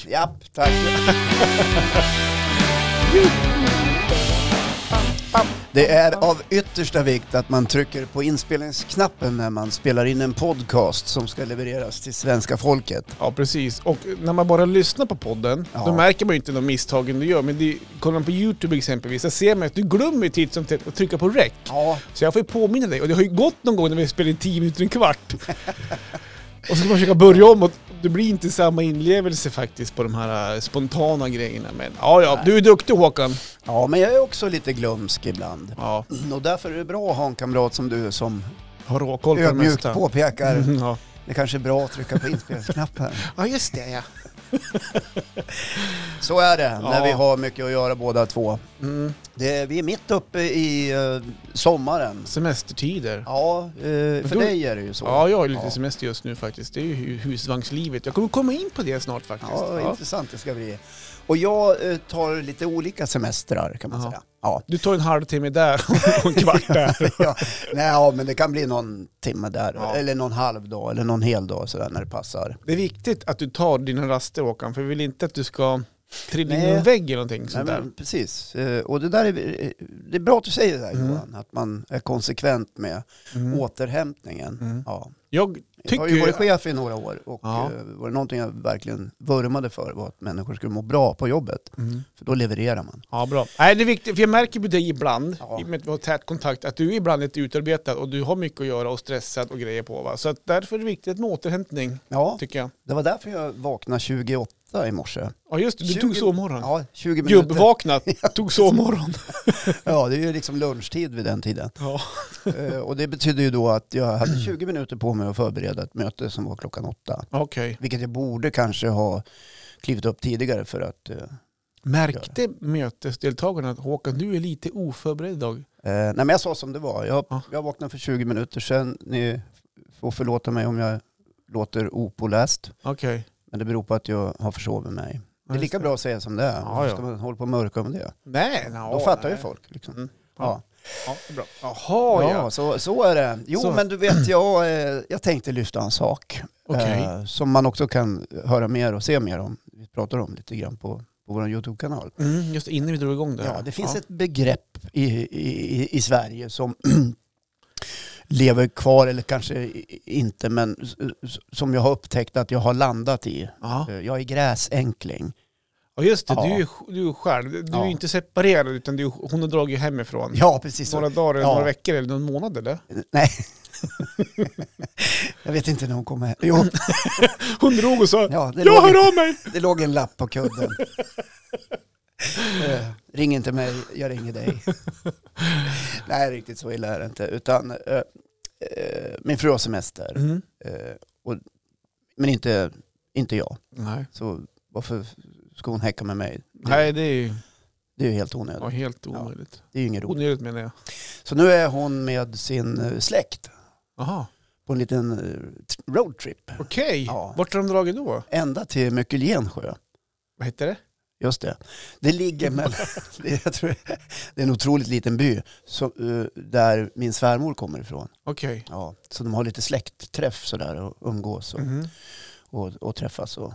Tack. Japp, tack. Det är av yttersta vikt att man trycker på inspelningsknappen när man spelar in en podcast som ska levereras till svenska folket. Ja, precis. Och när man bara lyssnar på podden, Ja. då märker man ju inte de misstagen du gör. Men det, kollar man på YouTube exempelvis, där ser man att du glömmer ju titt som tätt att trycka på rec. Ja, Så jag får ju påminna dig. Och det har ju gått någon gång när vi spelar in 10 minuter, en kvart. och så ska man försöka börja om och det blir inte samma inlevelse faktiskt på de här eh, spontana grejerna. Men ja, ja, du är duktig Håkan. ja men jag är också lite glömsk ibland. Ja, Och därför är det bra att ha en kamrat som du som har råkoll på det ödmjukt mesta. påpekar Mm, ja. det kanske är bra att trycka på inspelningsknappen. ja, just det ja. Så är det när Ja. vi har mycket att göra båda två. Mm. Det, vi är mitt uppe i eh, sommaren. Semestertider. Ja, eh, för då- dig är det ju så. Ja, jag har lite Ja. semester just nu faktiskt. Det är ju hu- husvagnslivet. Jag kommer komma in på det snart faktiskt. Ja, Ja. intressant det ska bli. Och jag eh, tar lite olika semestrar kan man Jaha. säga. Ja. Du tar en halvtimme där och en kvart där. ja. Nej, ja, men det kan bli någon timme där, Ja. eller någon halv dag, eller någon hel dag sådär när det passar. Det är viktigt att du tar dina raster Håkan, för vi vill inte att du ska trilla in i Nej. en vägg eller någonting Nej, sånt där. men, precis, Eh, och det där är, eh, det är bra att du säger det där Mm. Johan, att man är konsekvent med Mm. återhämtningen. Mm. Ja. Jag Jag har tycker ju ju... varit chef i några år och Ja. eh, var det någonting jag verkligen vurmade för var att människor skulle må bra på jobbet, Mm. för då levererar man. Ja, bra. Nej, det är viktigt, för jag märker på dig ibland, Ja. i och med att vi har tät kontakt, att du är ibland lite utarbetad och du har mycket att göra och stressad och grejer på. Va? Så att därför är det viktigt med återhämtning, Ja, tycker jag. det var därför jag vaknade 28 i morse. Ja, just det. Du 20 tog sovmorgon. Ja, 20 minuter. Gubbvaknat, tog sovmorgon. Ja, det är ju liksom lunchtid vid den tiden. Ja. Eh, och det betyder ju då att jag hade 20 minuter på mig att förbereda ett möte som var klockan åtta. Okej. Vilket jag borde kanske ha klivit upp tidigare för att... Eh, Märkte mötesdeltagarna att Håkan, du är lite oförberedd idag? eh, nej men jag sa som det var. Jag, Ja. jag vaknade för 20 minuter sedan. Ni får förlåta mig om jag låter opåläst. Okej. Men det beror på att jag har försovit mig. Det är lika bra att säga som det är. Ja, Varför ska ja. man hålla på och mörka om det? Nej, no, Då fattar nej. ju folk. Liksom. Mm. Ja. Ja, det är bra. Jaha, ja. ja, så, så är det. Jo, Så. men du vet, jag, eh, jag tänkte lyfta en sak. Okej. eh, som man också kan höra mer och se mer om. Vi pratar om lite grann på, på vår YouTube-kanal. Mm, just innan vi drog igång det här. Ja, det finns ett begrepp i, i, i Sverige som lever kvar, eller kanske i- inte, men s- s- som jag har upptäckt att jag har landat i. Ja, Eh, Jag är gräsänkling. ja just det. Du, Ja. är, ju- du är själv. Du är Ja. ju inte separerad, utan du, hon har dragit hemifrån. Ja, precis. Några dagar, eller Ja. några veckor eller någon månad eller? Nej. jag vet inte när hon kom hem. Jo, Hon drog och sa ja, det ”Jag låg- hör av mig!” Det låg en lapp på kudden. Eh, ring inte mig, jag ringer dig. Nej, riktigt så illa är det inte. Utan, eh, eh, min fru har semester, mm. eh, och, men inte, inte jag. Nej. Så varför ska hon häcka med mig? Det, Nej, det är ju det är ju helt ja, onödigt. helt omöjligt. Det är ju ingen roligt. Onödigt menar jag. Så nu är hon med sin eh, släkt Jaha, på en liten eh, t- roadtrip. okej. Ja. Vart har de dragit då? Ända till Möckelgensjö. Vad heter det? Just det. Det ligger mellan, det, jag tror, det är en otroligt liten by så, eh, där min svärmor kommer ifrån. Okej. Ja, så de har lite släktträff sådär och umgås och, Mhm. och, och träffas och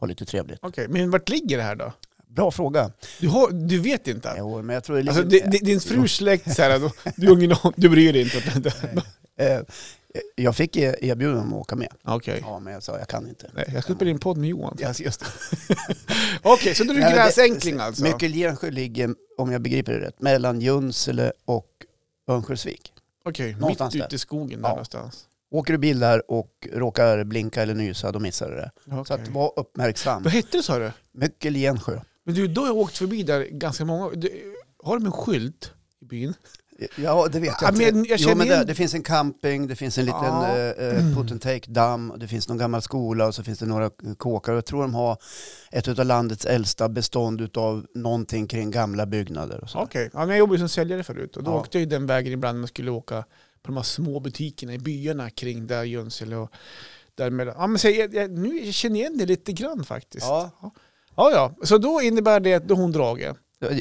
har lite trevligt. Okej, men vart ligger det här då? Bra fråga. Du, har, du vet inte? Jo, men jag tror det ligger, Alltså, di- di- din frus släkt, så här, då- du, har ingen an- du bryr dig inte? eh, eh, jag fick e- erbjudande om att åka med. Okej. Ja, men jag sa jag kan inte. Nej, jag ska spela in podd med Johan. Ja, just det. Okej, så då är du Nej, men det- gräsänkling alltså? Okej. Möckelsjö ligger, om jag begriper det rätt, mellan Junsele och Örnsköldsvik. mitt Någonstans där. ute i skogen där Ja. någonstans. Åker du bil där och råkar blinka eller nysa, då missar du det. Så Okej. att var uppmärksam. Vad hette det sa du? Möckelgensjö. Men du, då har jag åkt förbi där ganska många du, Har de en skylt i byn? Ja, det vet Ja, jag inte. men jag jo, känner men det, in- det finns en camping, det finns en liten Ja. Mm. eh, eh, put and take damm, och det finns någon gammal skola och så finns det några kåkar. Jag tror de har ett av landets äldsta bestånd av någonting kring gamla byggnader. Och så. Okej, ja, men jag jobbade som säljare förut och då Ja. åkte jag ju den vägen ibland när man skulle åka på de här små butikerna i byarna kring där Jönsele och däremellan. Ja, men så jag, jag, nu känner jag igen det lite grann faktiskt. Ja. ja, ja. så då innebär det att då har hon dragit.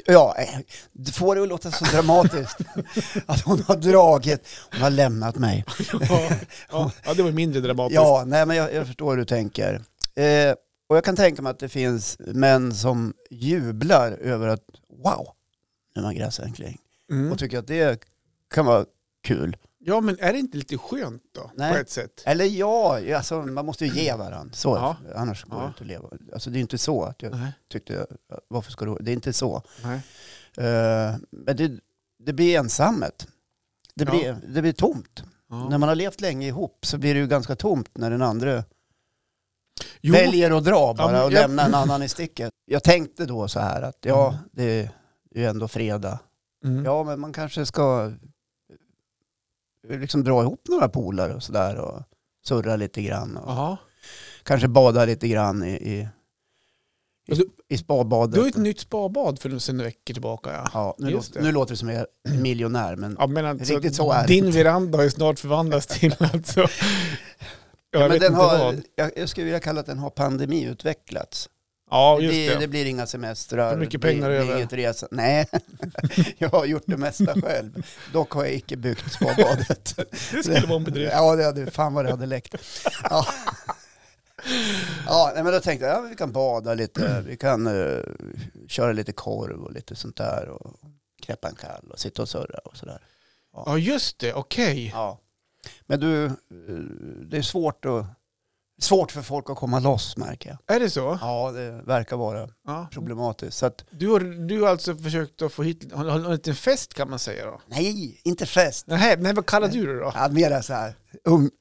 Ja, eh, du får det att låta så dramatiskt att hon har dragit, hon har lämnat mig. Ja, ja, ja, det var mindre dramatiskt. Ja, nej men jag, jag förstår hur du tänker. Eh, Och jag kan tänka mig att det finns män som jublar över att wow, nu har gräsen kling. Mm. Och tycker att det kan vara kul. Ja, men är det inte lite skönt då? Nej. På ett sätt. Eller ja, alltså, man måste ju ge varandra. Så, Ja. Annars går Ja. det inte att leva. Alltså, det är inte så att jag Nej. tyckte, varför ska du, det är inte så. Nej. Eh, men det, det blir ensamhet. Det Ja. blir, det blir tomt. När Ja. man har levt länge ihop så blir det ju ganska tomt när den andra Jo, väljer att dra bara men och jag- lämna en annan i sticket. Jag tänkte då så här att ja, det är ju ändå fredag. mm. Ja, men man kanske ska eh, liksom dra ihop några polare och sådär och surra lite grann och Jaha. kanske bada lite grann i, i, i, Alltså, i Du har ju spabadet. ett nytt spabad för sen några veckor tillbaka. Ja. Ja, nu, Just låter, det. nu låter det som jag är miljonär, men Ja, men alltså, Riktigt så är det din veranda har ju snart förvandlats till alltså... Ja, jag Ja, men vet den inte har, vad. jag, jag skulle vilja kalla att den har pandemiutvecklats. Ja, det, just blir, det. det. blir inga semestrar. Hur mycket det blir- pengar det blir över? Inget resa. Nej, jag har gjort det mesta själv. Dock har jag icke byggt spabadet. Det skulle vara en bedrift. ja, det hade, fan vad det hade läckt. Ja. Ja, nej, men då tänkte jag ja, vi kan bada lite, vi kan eh, köra lite korv och lite sånt där och knäppa en kall och sitta och surra och sådär. Ja, just det. Okej. Ja. Men du, eh, det är svårt, att, svårt för folk att komma loss märker jag. Är det så? Ja, det verkar vara Ja. problematiskt. Så att, Du, har, du har alltså försökt att få hit... Har, har, har en liten fest kan man säga då? nej, inte fest. Nej, nej vad kallar du det då? Ja, mera så här, um,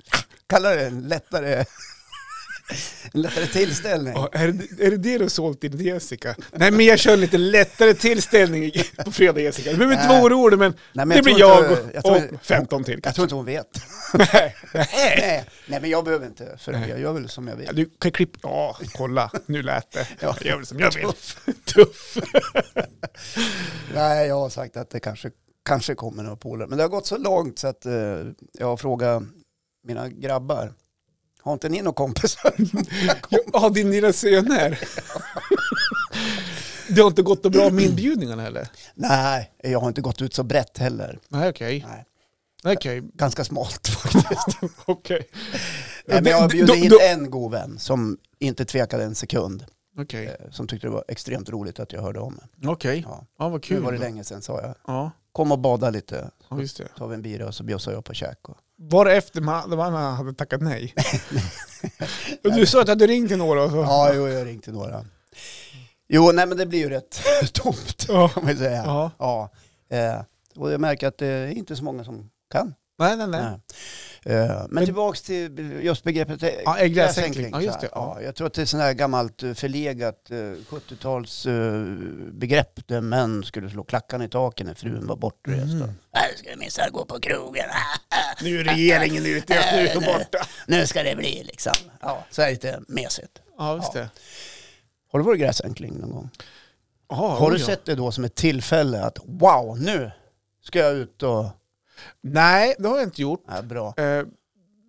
kallar det en lättare, en lättare tillställning. Ja, är, det, är det det du har sålt till Jessica? Nej, men jag kör en lite lättare tillställning på fredag Jessica. Du behöver inte vara Nej. orolig, men, Nej, men det jag blir tror jag inte- och, jag tror- och 15 till. Jag tror inte hon vet. Nej. nej, nej, men jag behöver inte, för Nej. jag gör väl som jag Ja, vill. Du kan klippa... Ja, kolla. Nu lät det. Ja. Jag gör väl som jag vill. Tuff. Nej, jag har sagt att det kanske, kanske kommer några polare. Men det har gått så långt så att eh, jag har frågat mina grabbar, har inte ni några kompisar? Ja, ah, din lilla söner. Det har inte gått så bra med inbjudningarna heller? Nej, jag har inte gått ut så brett heller. Nej, okej. Nej. Okej. Ganska smalt faktiskt. Okej. Nej, men jag Det- bjöd då- in då- en god vän som inte tvekade en sekund. Okej. eh, Som tyckte det var extremt roligt att jag hörde om mig. Okej. Ja. Ja, vad Nu kul. var det länge sedan sa jag. Ja, Kom och bada lite, ja, just det. tar vi en bira och så bjussar jag på käk. Och... Var det efter man, man hade tackat nej? Och du sa att du hade ringt till några och så... Ja, jo, jag ringde några. Jo, nej men det blir ju rätt tomt Ja. kan man ju säga. Ja. Ja. eh, Och jag märker att det är inte så många som kan. Nej, nej, nej. Nej. Eh, Men, tillbaks till just begreppet eh, Ja, äggräsänkling. gräsänkling, Ja, just det. så här. Ja, jag tror att det är sådant här gammalt eh, förlegat eh, 70-tals eh, begrepp där män skulle slå klackarna i taket när frun var bortrest. Mm. Nu ska du minsann gå på krogen. Nu är regeringen ute, jag är Nej, nej. borta. Nu ska det bli liksom. Ja, så är lite mesigt. Ja, just Ja. det. Har du varit gräsänkling någon gång? Ja, Har du ja. sett det då som ett tillfälle att wow, nu ska jag ut och... Nej, det har jag inte gjort. Ja, bra. Eh,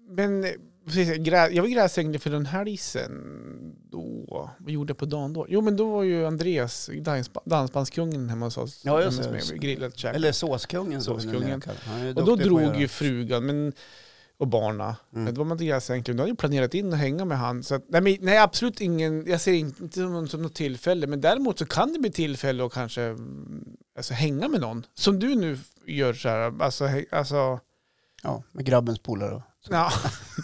men eh, precis, grä, jag var gräsänglig för den här isen då. Vad gjorde jag på dagen då? Jo, men då var ju Andreas, dansba- dansbandskungen, hemma hos oss. Ja, just hemma hos det. mig, Grillat käk. Eller såskungen. som vi nu Såskungen. kallar- Han är Och då duktig på att drog göra. ju frugan men, och barna. Mm. Men då var man inte gräsänkling. Då hade jag planerat in att hänga med han. Så att, nej, men, nej, absolut ingen. Jag ser inte som, som något tillfälle. Men däremot så kan det bli tillfälle att kanske mm, alltså, hänga med någon. Som du nu gör så här. Alltså, hä- alltså Ja, med grabbens polare. Ja,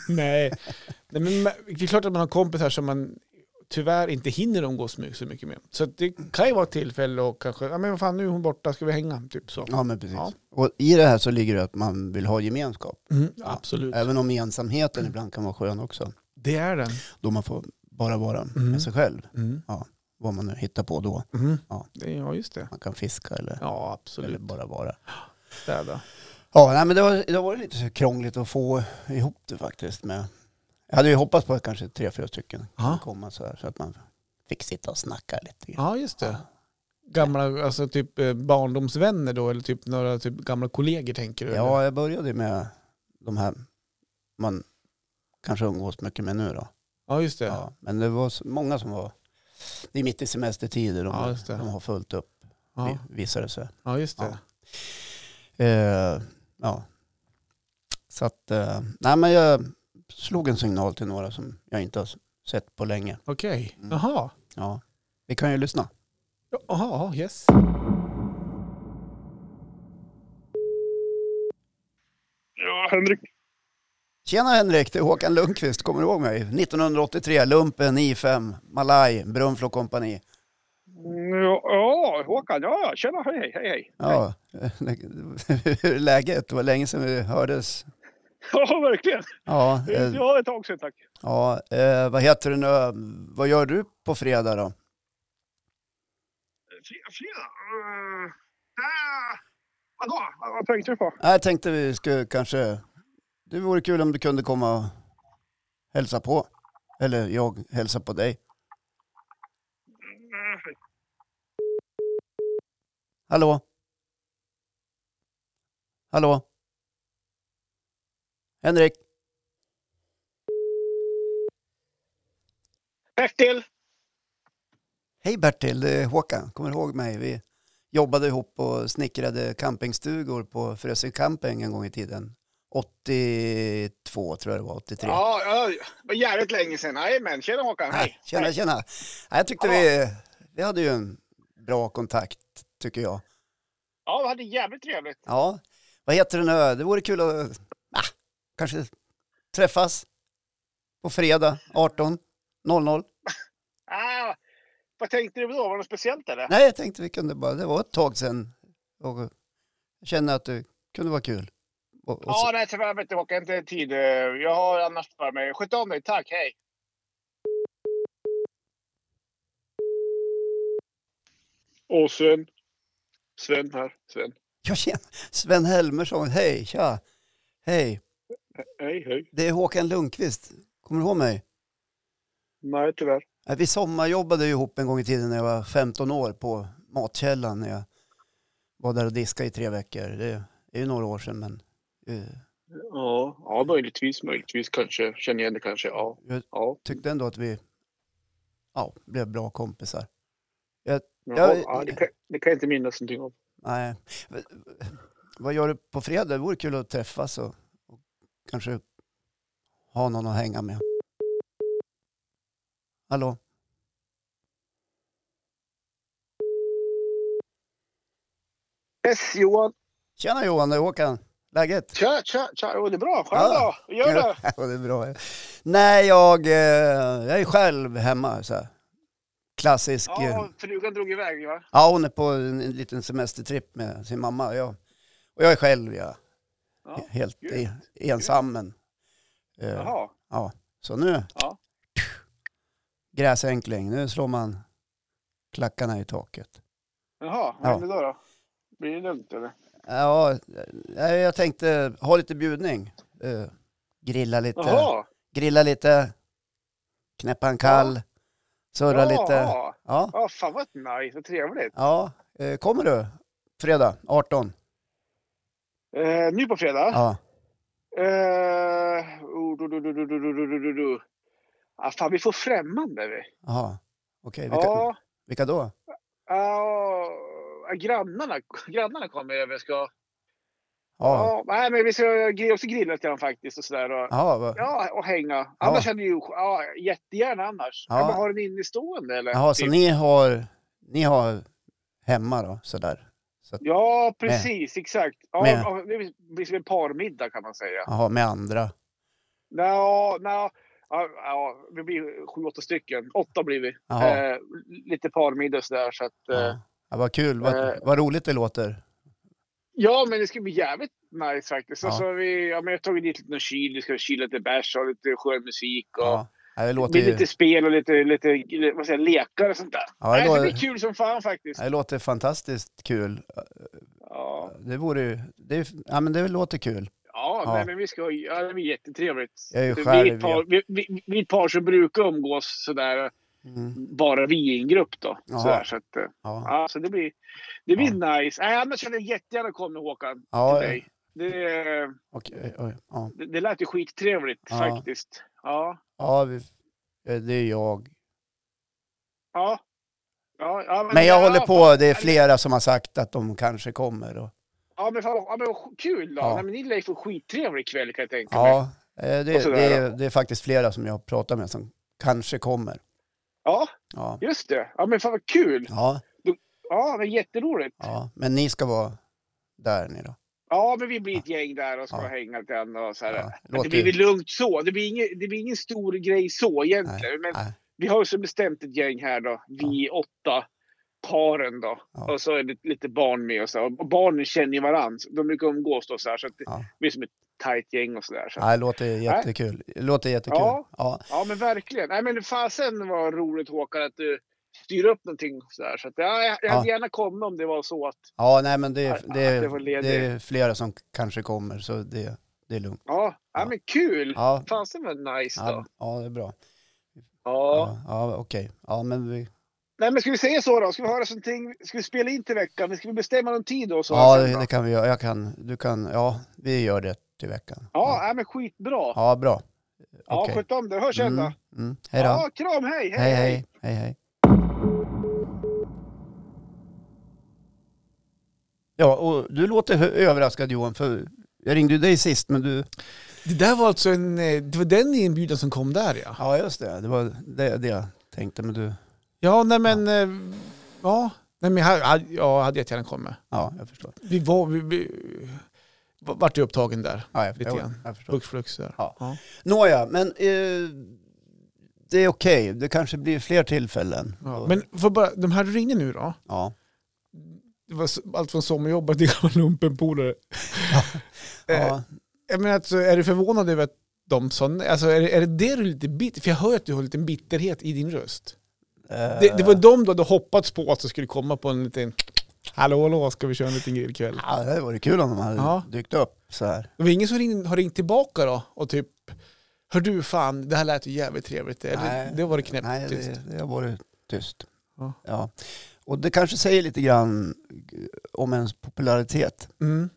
nej. nej men ma- det är klart att man har kompisar som man tyvärr inte hinner umgås med så mycket med. Så att det kan ju vara ett tillfälle och kanske, ja men vad fan nu är hon borta, ska vi hänga? Typ så. Ja, men precis. Ja. Och i det här så ligger det att man vill ha gemenskap. Mm, absolut. Även om ensamheten ibland kan vara skön också. Det är den. Då man får bara vara Mm. med sig själv. Mm. Vad man nu hittar på då. Mm. Ja. Det- Ja, just det. Man kan fiska eller, Ja, eller absolut. bara vara. Städa. Ja, nej, men det, var, det var lite så krångligt att få ihop det faktiskt. Med. Jag hade ju hoppats på att kanske tre, fyra stycken Ja. skulle komma så här så att man fick sitta och snacka lite. grann. Ja, just det. Gamla, alltså typ eh, barndomsvänner då, eller typ några typ gamla kollegor tänker du? eller? Ja, jag började med de här man kanske umgås mycket med nu då. ja just det. Ja, men det var så- många som var, det är mitt i semestertider, de, Ja, just det. de har fullt upp Ja, vi- visar det sig. ja just det. Ja. Eh, ja. Så att, eh, nej men jag slog en signal till några som jag inte har s- sett på länge. Okej. Mm. Jaha. Ja. Vi kan ju lyssna. Ja, Jaha, yes. Ja, Henrik. Tjena Henrik, det är Håkan Lundqvist. Kommer du ihåg mig? 1983, Lumpen, I5, Malaj, Brunflo kompani. Mm, Ja, ja, Håkan. Ja, tjena. Hej, hej, hej. Ja, hur är läget? Det var länge sedan vi hördes. Ja, verkligen. Ja, eh, Ja, ett tag sedan, tack. ja eh, vad heter det nu? Vad gör du på fredag då? Fre- Fredag? Uh, äh, vadå? Vad- Vad tänkte du på? Nej, Jag tänkte vi skulle kanske... Det vore kul om du kunde komma och hälsa på. Eller jag hälsar på dig. Mm, Hallå? Hallå? Henrik? Bertil. Hej Bertil, det är Håkan. Kommer du ihåg mig? Vi jobbade ihop och snickrade campingstugor på Frösö camping en gång i tiden. 82 tror jag det var, 83. Ja, ja, det var jävligt länge sedan. Nej, men tjena Håkan. Hej. Ah, Tjena, tjena. Nej, jag tyckte vi, vi hade ju en bra kontakt, tycker jag. Ja, vi hade jävligt trevligt. Ja, vad heter den nu? Det vore kul att ah, kanske träffas på fredag 18.00. Ah, vad tänkte du då? Var det något speciellt eller? Nej, jag tänkte vi kunde bara, det var ett tag sedan och jag känner att det kunde vara kul. Och, och Ja, så, nej tyvärr vet du Håkan, inte tid. Eh, Jag har annars för mig. Sköt om dig, tack, hej. Och Sven. Sven här, Sven. ja, tjena. Sven Helmersson, hej, tja. Hej, Hej, hej. det är Håkan Lundqvist. Kommer du ihåg mig? Nej, tyvärr. Ja, Vi sommarjobbade ju ihop en gång i tiden när jag var 15 år på Matkällan när jag var där och diskade i tre veckor. Det är ju några år sedan men eh, Ja, ja möjligtvis, möjligtvis kanske. Känner igen det kanske. Ja. Jag- Ja. tyckte ändå att vi ja, blev bra kompisar. Ja, Jag- ja, det, kan, det kan jag inte minnas någonting om. Nej. V- Vad gör du på fredag? Det vore kul att träffas och, och kanske ha någon att hänga med. Hallå? Yes, Johan. Tjena Johan, det är Håkan. Läget? Tja, tja, tja. Jo, det är bra. Själv Ja. då? Hur gör du? Ja, det är bra. Nej, jag, eh, jag är själv hemma. Så här. Klassisk. eh, Ja, frugan drog iväg, ja. Ja, hon är på en, en liten semestertripp med sin mamma. Ja. Och jag är själv, ja. Ja, Helt grymt, e- ensam. Men, eh, Jaha. ja. Så nu, Ja. gräsänkling, nu slår man klackarna i taket. Jaha, vad Ja. händer då, då? Blir det lugnt eller? Ja, eh, jag tänkte ha lite bjudning. Eh, grilla lite, Jaha. grilla lite, knäppa en kall, surra lite. Ja, Ja, ja fan vad nice, vad trevligt. ja. Eh, kommer du? Fredag 18. Eh, nu på fredag? Ja. Eh, oh, du, du, du, du, du, du, du, du, du, du. Ah, fan, vi får främmande vi. Jaha, okej. Vilka, Ja, vilka då? ja, grannarna, grannarna kommer över. och Ska... Ja. Ja, nej, men vi ska gri- också grilla lite grann faktiskt och sådär. Och, ja, va- ja, och hänga. Annars hade ju, ja, jättegärna annars. Ja. Ja. men har den innestående eller? Jaha, så Typ. ni har, ni har hemma då, sådär? Så att, Ja, precis, exakt. Ja, Med. ja, det blir- blir som en parmiddag kan man säga. jaha, med andra? Nå, nå, ja, ja, vi blir sju, åtta stycken. Åtta blir vi. Jaha. Eh, lite parmiddag och sådär. Så att, eh, Ja. Ja, vad kul, vad, eh. vad roligt det låter. ja, men det ska bli jävligt nice faktiskt. Ja. Och så har vi, ja, men jag har tagit dit lite någon kyl. Vi ska kyla lite bärs och lite skön musik. Och Ja. Ja, det, det låter blir ju, lite spel och lite, lite vad säger, jag, lekar och sånt där. Ja, det Nej, det låter- blir kul som fan faktiskt. ja, det låter fantastiskt kul. Ja, Det vore ju, det, ja men det låter kul. ja, Ja. Nej, men vi ska, ja, det blir jättetrevligt. Jag är ju vi, själv, är ett par, vi, vi, vi är ett par som brukar umgås sådär, Mm. bara vi i en grupp då. Jaha. Sådär, så att, eh, Ja. Ja, så det blir, det blir nice. Nej, annars hade jag jättegärna kommit Håkan. Ja, till dig. Det, okej, oj, ja. det, det lät ju skittrevligt Ja. faktiskt. Ja, ja vi, eh, det är jag. ja. ja, ja Men jag ja, håller fan. på, det är flera som har sagt att de kanske kommer. Och, Ja, men, fan, ja, men vad kul då. Ja. Nej, men ni lär ju få skittrevlig kväll kan jag tänka mig. ja, eh, det, Och sådär, det, är- det är faktiskt flera som jag pratar med som kanske kommer. Ja, Ja, just det. Ja, men fan vad kul! ja, Ja, men jätteroligt. ja. men ni ska vara där ni då. Ja, men vi blir ett gäng där och ska Ja. hänga lite grann och så här. Ja, det låter blir ju- väl lugnt så. Det blir, ingen, det blir ingen stor grej så egentligen. Men nej. vi har ju så bestämt ett gäng här då. Vi åtta paren då. Ja. Och så är det lite barn med och så. Och barnen känner ju varandra. De brukar umgås då så här. Så att det Ja. blir som ett tajt gäng och så där. Så. att- Nej, det låter jättekul. Det låter jättekul. Ja. Ja. Ja, men verkligen. Nej, men fasen var roligt Håkan att du styr upp någonting så där. Så att, ja, jag, jag hade gärna kommit om det var så att. Ja, nej men det, är- Ja, det, det var är- ledigt. det är flera som kanske kommer så det, det är lugnt. Ja, ja. Ja. men kul. Ja, Fasen var nice då. ja, ja det är bra. ja. Ja, ja okej. Ja, men vi, Nej, men ska vi säga så då? Ska vi höra någonting? Ska vi spela in till veckan? Ska vi bestämma någon tid då? Så ja här sen det, då? det kan vi göra. Jag kan, du kan, ja, vi gör det till veckan. Ja, nej, men skitbra. Ja, Ja, bra. okej. sköt om det. Hörs sen då. Mm, mm. Hej då. Ja, kram. Hej, Hej, hej. Hej, hej. Ja, och du låter hö- överraskad Johan, för jag ringde ju dig sist, men du... Det där var alltså en... eh, Det var den inbjudan som kom där ja. Ja, just det. Det var det, det jag tänkte, men du... Ja, nej men... eh, Ja, nej, men jag hade, jag hade jättegärna kommit. Ja, jag förstår. Vi var... Vi, vi, vart ju upptagen där. Ja, jag, Lite jag, grann. jag förstår. Flux flux där. Ja. Ja. Nåja, men eh, det är okej. Det kanske blir fler tillfällen. Ja. Och- Men för bara, de här du ringde nu då? ja. Det var s- allt från sommarjobbare till gamla lumpenpolare. Eh, Ja, Jag menar, alltså, är du förvånad över att de sa nej? Alltså, är, det- är det det du är lite bitter? För jag hör att du har lite bitterhet i din röst. eh, Det, det var de du hade hoppats på att du skulle komma på en liten... Hallå, hallå, ska vi köra en liten grillkväll? ja, det vore kul om de hade Ja. dykt upp så här. Det var ingen som ring, har ringt tillbaka då och typ... Hör du fan, det här lät ju jävligt trevligt. Eller, Nej. det var det knäppt. Nej, tyst. det, det har varit tyst. Ja. Ja. Och det kanske säger lite grann eh, om ens popularitet. Mm.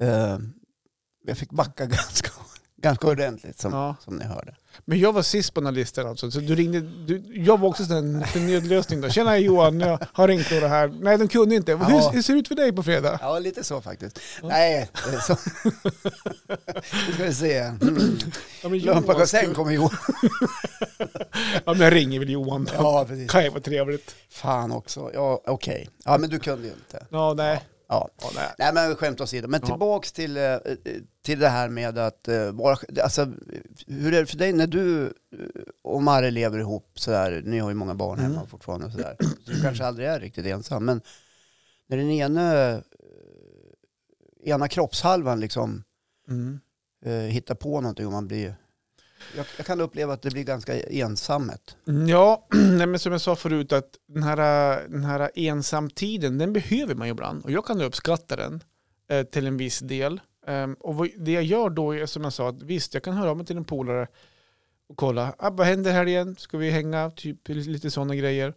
Eh, jag fick backa ganska, ganska ordentligt som, Ja. som ni hörde. Men jag var sist på den här listan alltså. Så du ringde, du, jag var också sån en liten nödlösning då. Tjena Johan, jag har ringt några här. Nej, de kunde inte. Ja. Hur, hur ser det ut för dig på fredag? Ja, lite så faktiskt. Nej, det är så. nu ska vi se. Mm. Ja, men Johan Lumpa, sen skulle- kommer Johan. Ja, men jag ringer väl Johan då. Ja, precis. Kan ju vara trevligt. Fan också. Ja, okej. Ja, men du kunde ju inte. Ja, nej. Ja. Ja, nej. Nej, men skämt åsido. Men Ja. tillbaks till, eh, till det här med att eh, vara... Alltså, hur är det för dig när du eh, och Marre lever ihop sådär? Ni har ju många barn hemma Mm. fortfarande och sådär. Så du kanske aldrig är riktigt ensam. Men när den ene, eh, ena kroppshalvan liksom Mm. eh, hittar på någonting och man blir... Jag, jag kan uppleva att det blir ganska ensamhet. Ja, nej, men som jag sa förut att den här, äh, den här ensamtiden, den behöver man ju ibland. Och jag kan uppskatta den eh, till en viss del. Ehm, och vad, det jag gör då är som jag sa, att visst jag kan höra av mig till en polare och kolla, ah, vad händer här igen? Ska vi hänga? Typ lite sådana grejer.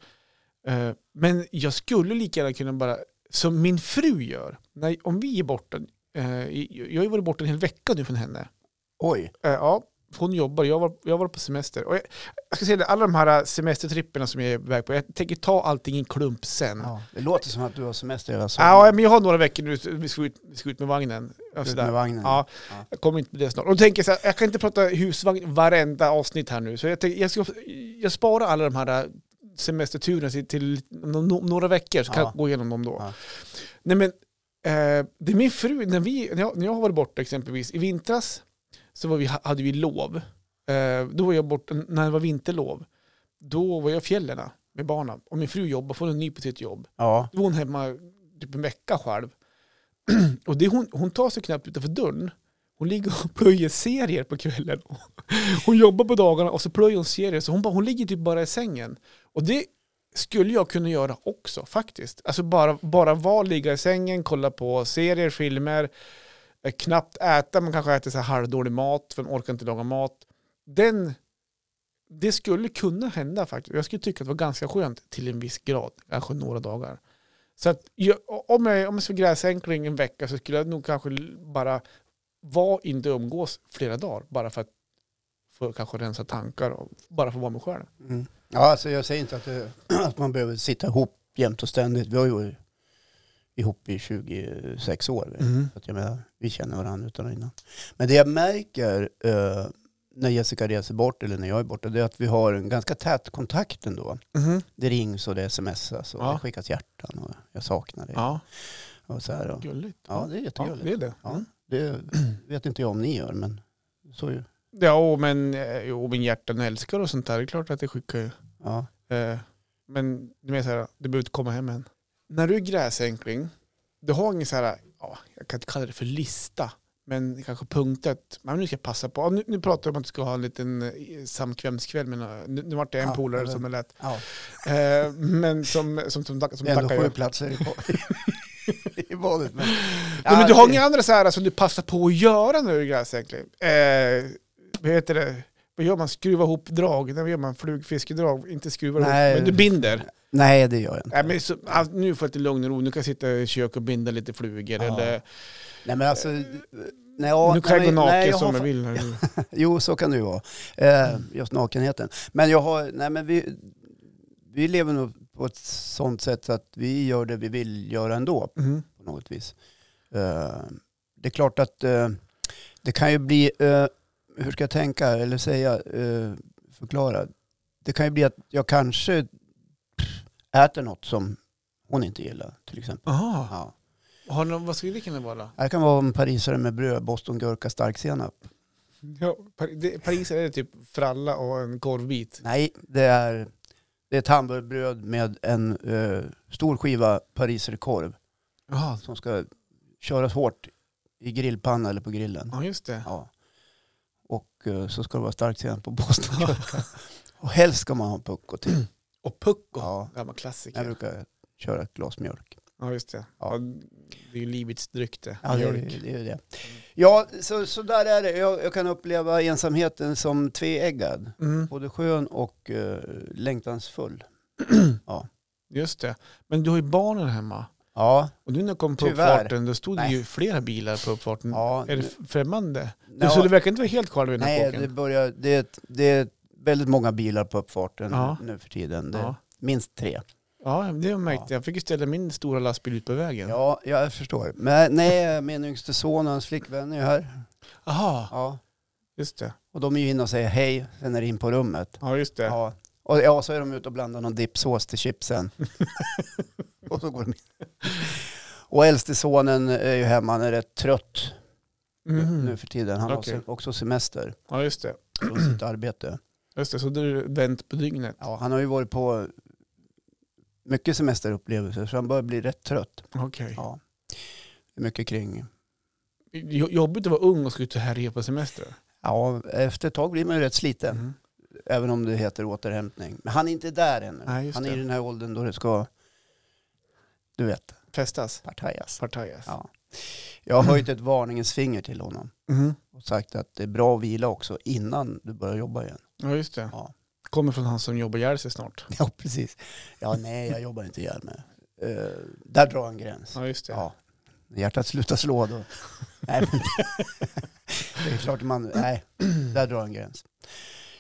Eh, men jag skulle lika gärna kunna bara, som min fru gör, när, om vi är borta, eh, i- jag har ju varit borta en hel vecka nu från henne. Oj. Eh, Ja, hon jobbar. Jag var, jag var på semester. Och jag, jag ska säga det, alla de här eh, semestertripperna som jag är iväg på, jag tänker ta allting i en klump sen. Ja. Ja. Det låter som att du har semester hela sommaren. Ja, men jag har några veckor nu, så vi ska ut, vi ska ut med vagnen. Ja, Ut sådär. med vagnen. Ja, Ja. jag kommer inte på det snart. Och då tänker jag så här, jag kan inte prata husvagn varenda avsnitt här nu. Så jag, tänker, jag, ska, jag sparar alla de här semesterturerna till, till no, några veckor, så kan Ja. jag gå igenom dem då. Ja. Nej men, eh, det är min fru, när, vi, när, jag, när jag har varit borta exempelvis, i vintras så var vi, hade vi lov. Eh, då var jag borta, när det var vinterlov, då var jag i fjällen med barnen. Och min fru jobbar, får en ny på sitt jobb. Ja. Då var hon hemma typ en vecka själv. Och det, hon, hon tar sig knappt utanför dörren. Hon ligger och plöjer serier på kvällen. Hon jobbar på dagarna och så plöjer hon serier. Så hon, bara, hon ligger typ bara i sängen. Och det skulle jag kunna göra också faktiskt. Alltså bara, bara vara, ligga i sängen, kolla på serier, filmer, eh, knappt äta. Man kanske äter så här halvdålig mat för man orkar inte laga mat. Den, det skulle kunna hända faktiskt. Jag skulle tycka att det var ganska skönt till en viss grad, kanske några dagar. Så att jag, om, jag, om jag skulle gräsänkling en vecka så skulle jag nog kanske l- bara vara inte umgås flera dagar. Bara för att få kanske rensa tankar och bara få vara mig själv. Mm. Ja, alltså jag säger inte att, det, att man behöver sitta ihop jämt och ständigt. Vi har ju varit ihop i Mm. Mm-hmm. 26 år. Så att jag menar, vi känner varandra utan och innan. Men det jag märker eh, när Jessica reser bort eller när jag är borta, det är att vi har en ganska tät kontakt ändå. Mhm. Det rings och det smsas och Ja. det skickas hjärtan och jag saknar dig. Ja, Och så här. Och, gulligt. ja, det är Ja, det jättegulligt. är det. Ja, det vet inte jag om ni gör, men så ju. Ja, och men, eh, jo, men hjärtan älskar och sånt där. Det är klart att det skickar ju. Ja. Eh, Men du menar så här, du behöver inte komma hem än. När du är gräsänkling, du har ingen så här, ja, jag kan inte kalla det för lista, men kanske punktet, men nu ska jag passa på. Ja, Nu, nu pratar du om att du ska ha en liten eh, samkvämskväll, men eh, nu, nu vart det en Ja, polare eller- som är lätt. ja. Eh, Men som, som, som, tack- som Det är ändå tackar sju jag. platser i ba- i badet. Men, Nej, men du Ja, har det- inga andra så här som du passar på att göra när du är gräsänkling? Eh, vad heter det? Vad gör man? Skruva ihop drag? Nej, vad gör man? Flugfiskedrag? Inte skruvar ihop, Nej. men du binder. Nej, det gör jag inte. Nej, men så, alltså, nu får jag lite lugn och ro. Nu kan jag sitta i kök och binda lite Ja. flugor. Eller, Nej, men alltså... Nej, ja, nu kan jag nej, gå men- nej, naken har som fa- jag vill. Här. nu. Jo, så kan det ju vara. Eh, just nakenheten. Men jag har, nej men vi, vi lever nog på ett sånt sätt att vi gör det vi vill göra ändå Mhm. på något vis. Eh, det är klart att eh, det kan ju bli, eh, hur ska jag tänka eller säga, eh, förklara. Det kan ju bli att jag kanske äter något som hon inte gillar till exempel. Aha. Ja. Har någon, vad skulle det kunna vara? Det kan vara en parisare med bröd, bostongurka, starksenap. Ja, Par- det, Paris är det typ fralla och en korvbit. Nej, det är, det är ett hamburgerbröd med en eh, stor skiva pariserkorv Jaha. som ska köras hårt i grillpanna eller på grillen. Ja, just det. Ja. Och eh, så ska det vara starkt senap på boston Och helst ska man ha pucko till. Och pucko. Ja, Gammal typ jag klassiker. brukar köra ett glas mjölk. Ja, just det. Ja. Ja. Det är ju livets dryck det. Ja, det, är Mjölk. ju- det är ju det. Ja, så, så där är det. Jag, jag kan uppleva ensamheten som tveeggad. Mm, Både skön och eh, längtansfull. just det. Men du har ju barnen hemma. Ja, Och nu när jag kom på Tyvärr. uppfarten, då stod det Nej. ju flera bilar på uppfarten. ja. Är det f- främmande? Ja. Så du verkar inte vara helt själv i den här Nej, det, kåken? börjar, det, är ett, det är väldigt många bilar på uppfarten Ja. nu för tiden. Det är Ja. Minst tre. Ja, det märkte jag. Jag fick ju ställa min stora lastbil ut på vägen. Ja, jag förstår. Men nej, min yngste son och hans flickvän är ju här. Aha, Ja. just det. Och de är ju inne och säger hej, sen är det in på rummet. Ja, just det. Ja. Och ja, så är de ute och blandar någon dippsås till chipsen. och så går de in. Och äldste sonen är ju hemma, han är rätt trött nu- Mhm. nu för tiden. Han Okej. har se- också semester Ja, just det. från sitt arbete. Just det, så du vänt på dygnet. Ja, han har ju varit på mycket semesterupplevelser så han börjar bli rätt trött. Okej. Ja. Det är Mycket kring... Jo- Jobbigt att vara ung och ska ut och härja på semester. Ja, efter ett tag blir man ju rätt sliten. Mm. Även om det heter återhämtning. Men han är inte där ännu. Nej, just han är i det. den här åldern då det ska... Du vet, Festas. partajas. Partajas. Ja. Jag har höjt ett varningens finger till honom. Mhm. Och sagt att det är bra att vila också innan du börjar jobba igen. Ja, just det. Ja. Kommer från han som jobbar ihjäl sig snart. Ja, precis. Ja, nej, jag jobbar inte ihjäl mig. Eh, där drar han gräns. Ja, just det. Ja. När hjärtat slutar slå då. nej, men, det är klart man, nej, där drar en gräns.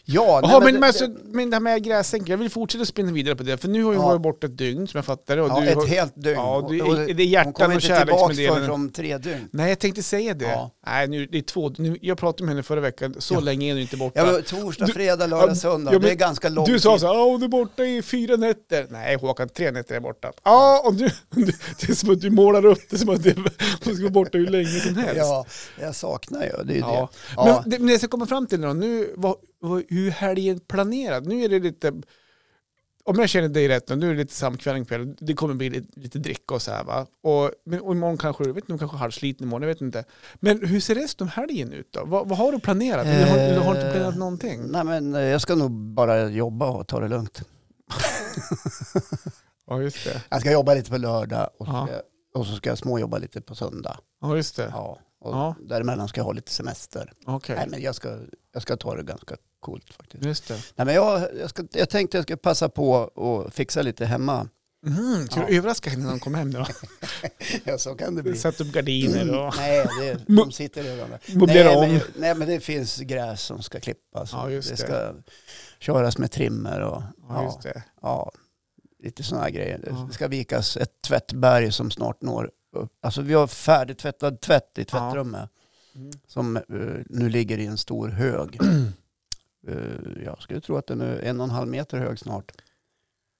Ja, nej, Jaha, men, men, det- alltså, men det här med gräsänken, jag vill fortsätta spinna vidare på det. För nu har jag Ja. varit borta ett dygn som jag fattar det, och ja, du ett har, helt dygn. Ja, det, Och- och- är- det är Hon kommer hjärtan och inte tillbaka förrän kärleksmeddelanden. om tre dygn. Nej, jag tänkte säga det. Ja. Nej, nu, det är två, nu, jag pratade med henne förra veckan, så Ja. länge är du inte borta. Ja, men, torsdag, Du- fredag, lördag, ja, söndag. ja, men det är ganska lång Du sa tid. så här, "Ja, hon är borta i fyra nätter. Nej Håkan, tre nätter är borta. Ja, och du, du, det är som att du målar upp det som att det- hon ska vara borta hur länge som helst. Ja, jag saknar ju. Det är ju Ja. det. Ja. Men det, men det jag ska komma fram till då, nu, vad, vad, hur helgen planerad? Nu är det lite, om jag känner dig rätt, nu, nu är det lite samkväll en kväll, det kommer bli lite, lite dricka och så här va? Och, men, och imorgon kanske, jag vet inte, kanske halvsliten imorgon, jag vet inte. Men hur ser resten av helgen ut då? Vad, vad har du planerat? Du har, du har inte planerat Eh, någonting? Nej, men eh, jag ska nog bara jobba och ta det lugnt. Ja just det. Jag ska jobba lite på lördag och, så Ja. ska jag- och så ska jag småjobba lite på söndag. Ja just det. Ja. Och Ja. däremellan ska jag ha lite semester. Okej. Nej, men jag ska, jag ska ta det ganska coolt faktiskt. Just det. Nej, men jag, jag, ska, jag tänkte jag ska passa på och fixa lite hemma. Mm, ska du Ja. överraska henne när hon kommer hem då? Ja, så kan det bli. Sätta upp gardiner och... Mm, Nej, det, de sitter redan där. Möblera nej, men, om. nej, men det finns gräs som ska klippas. och Ja, just det. ska köras med trimmer och Ja, just ja, det. ja, lite sådana grejer. Ja. Det ska vikas ett tvättberg som snart når upp. Alltså vi har färdigtvättad tvätt i tvättrummet Mm. som eh, nu ligger i en stor hög. Eh, Jag skulle tro att den är en och en halv meter hög snart.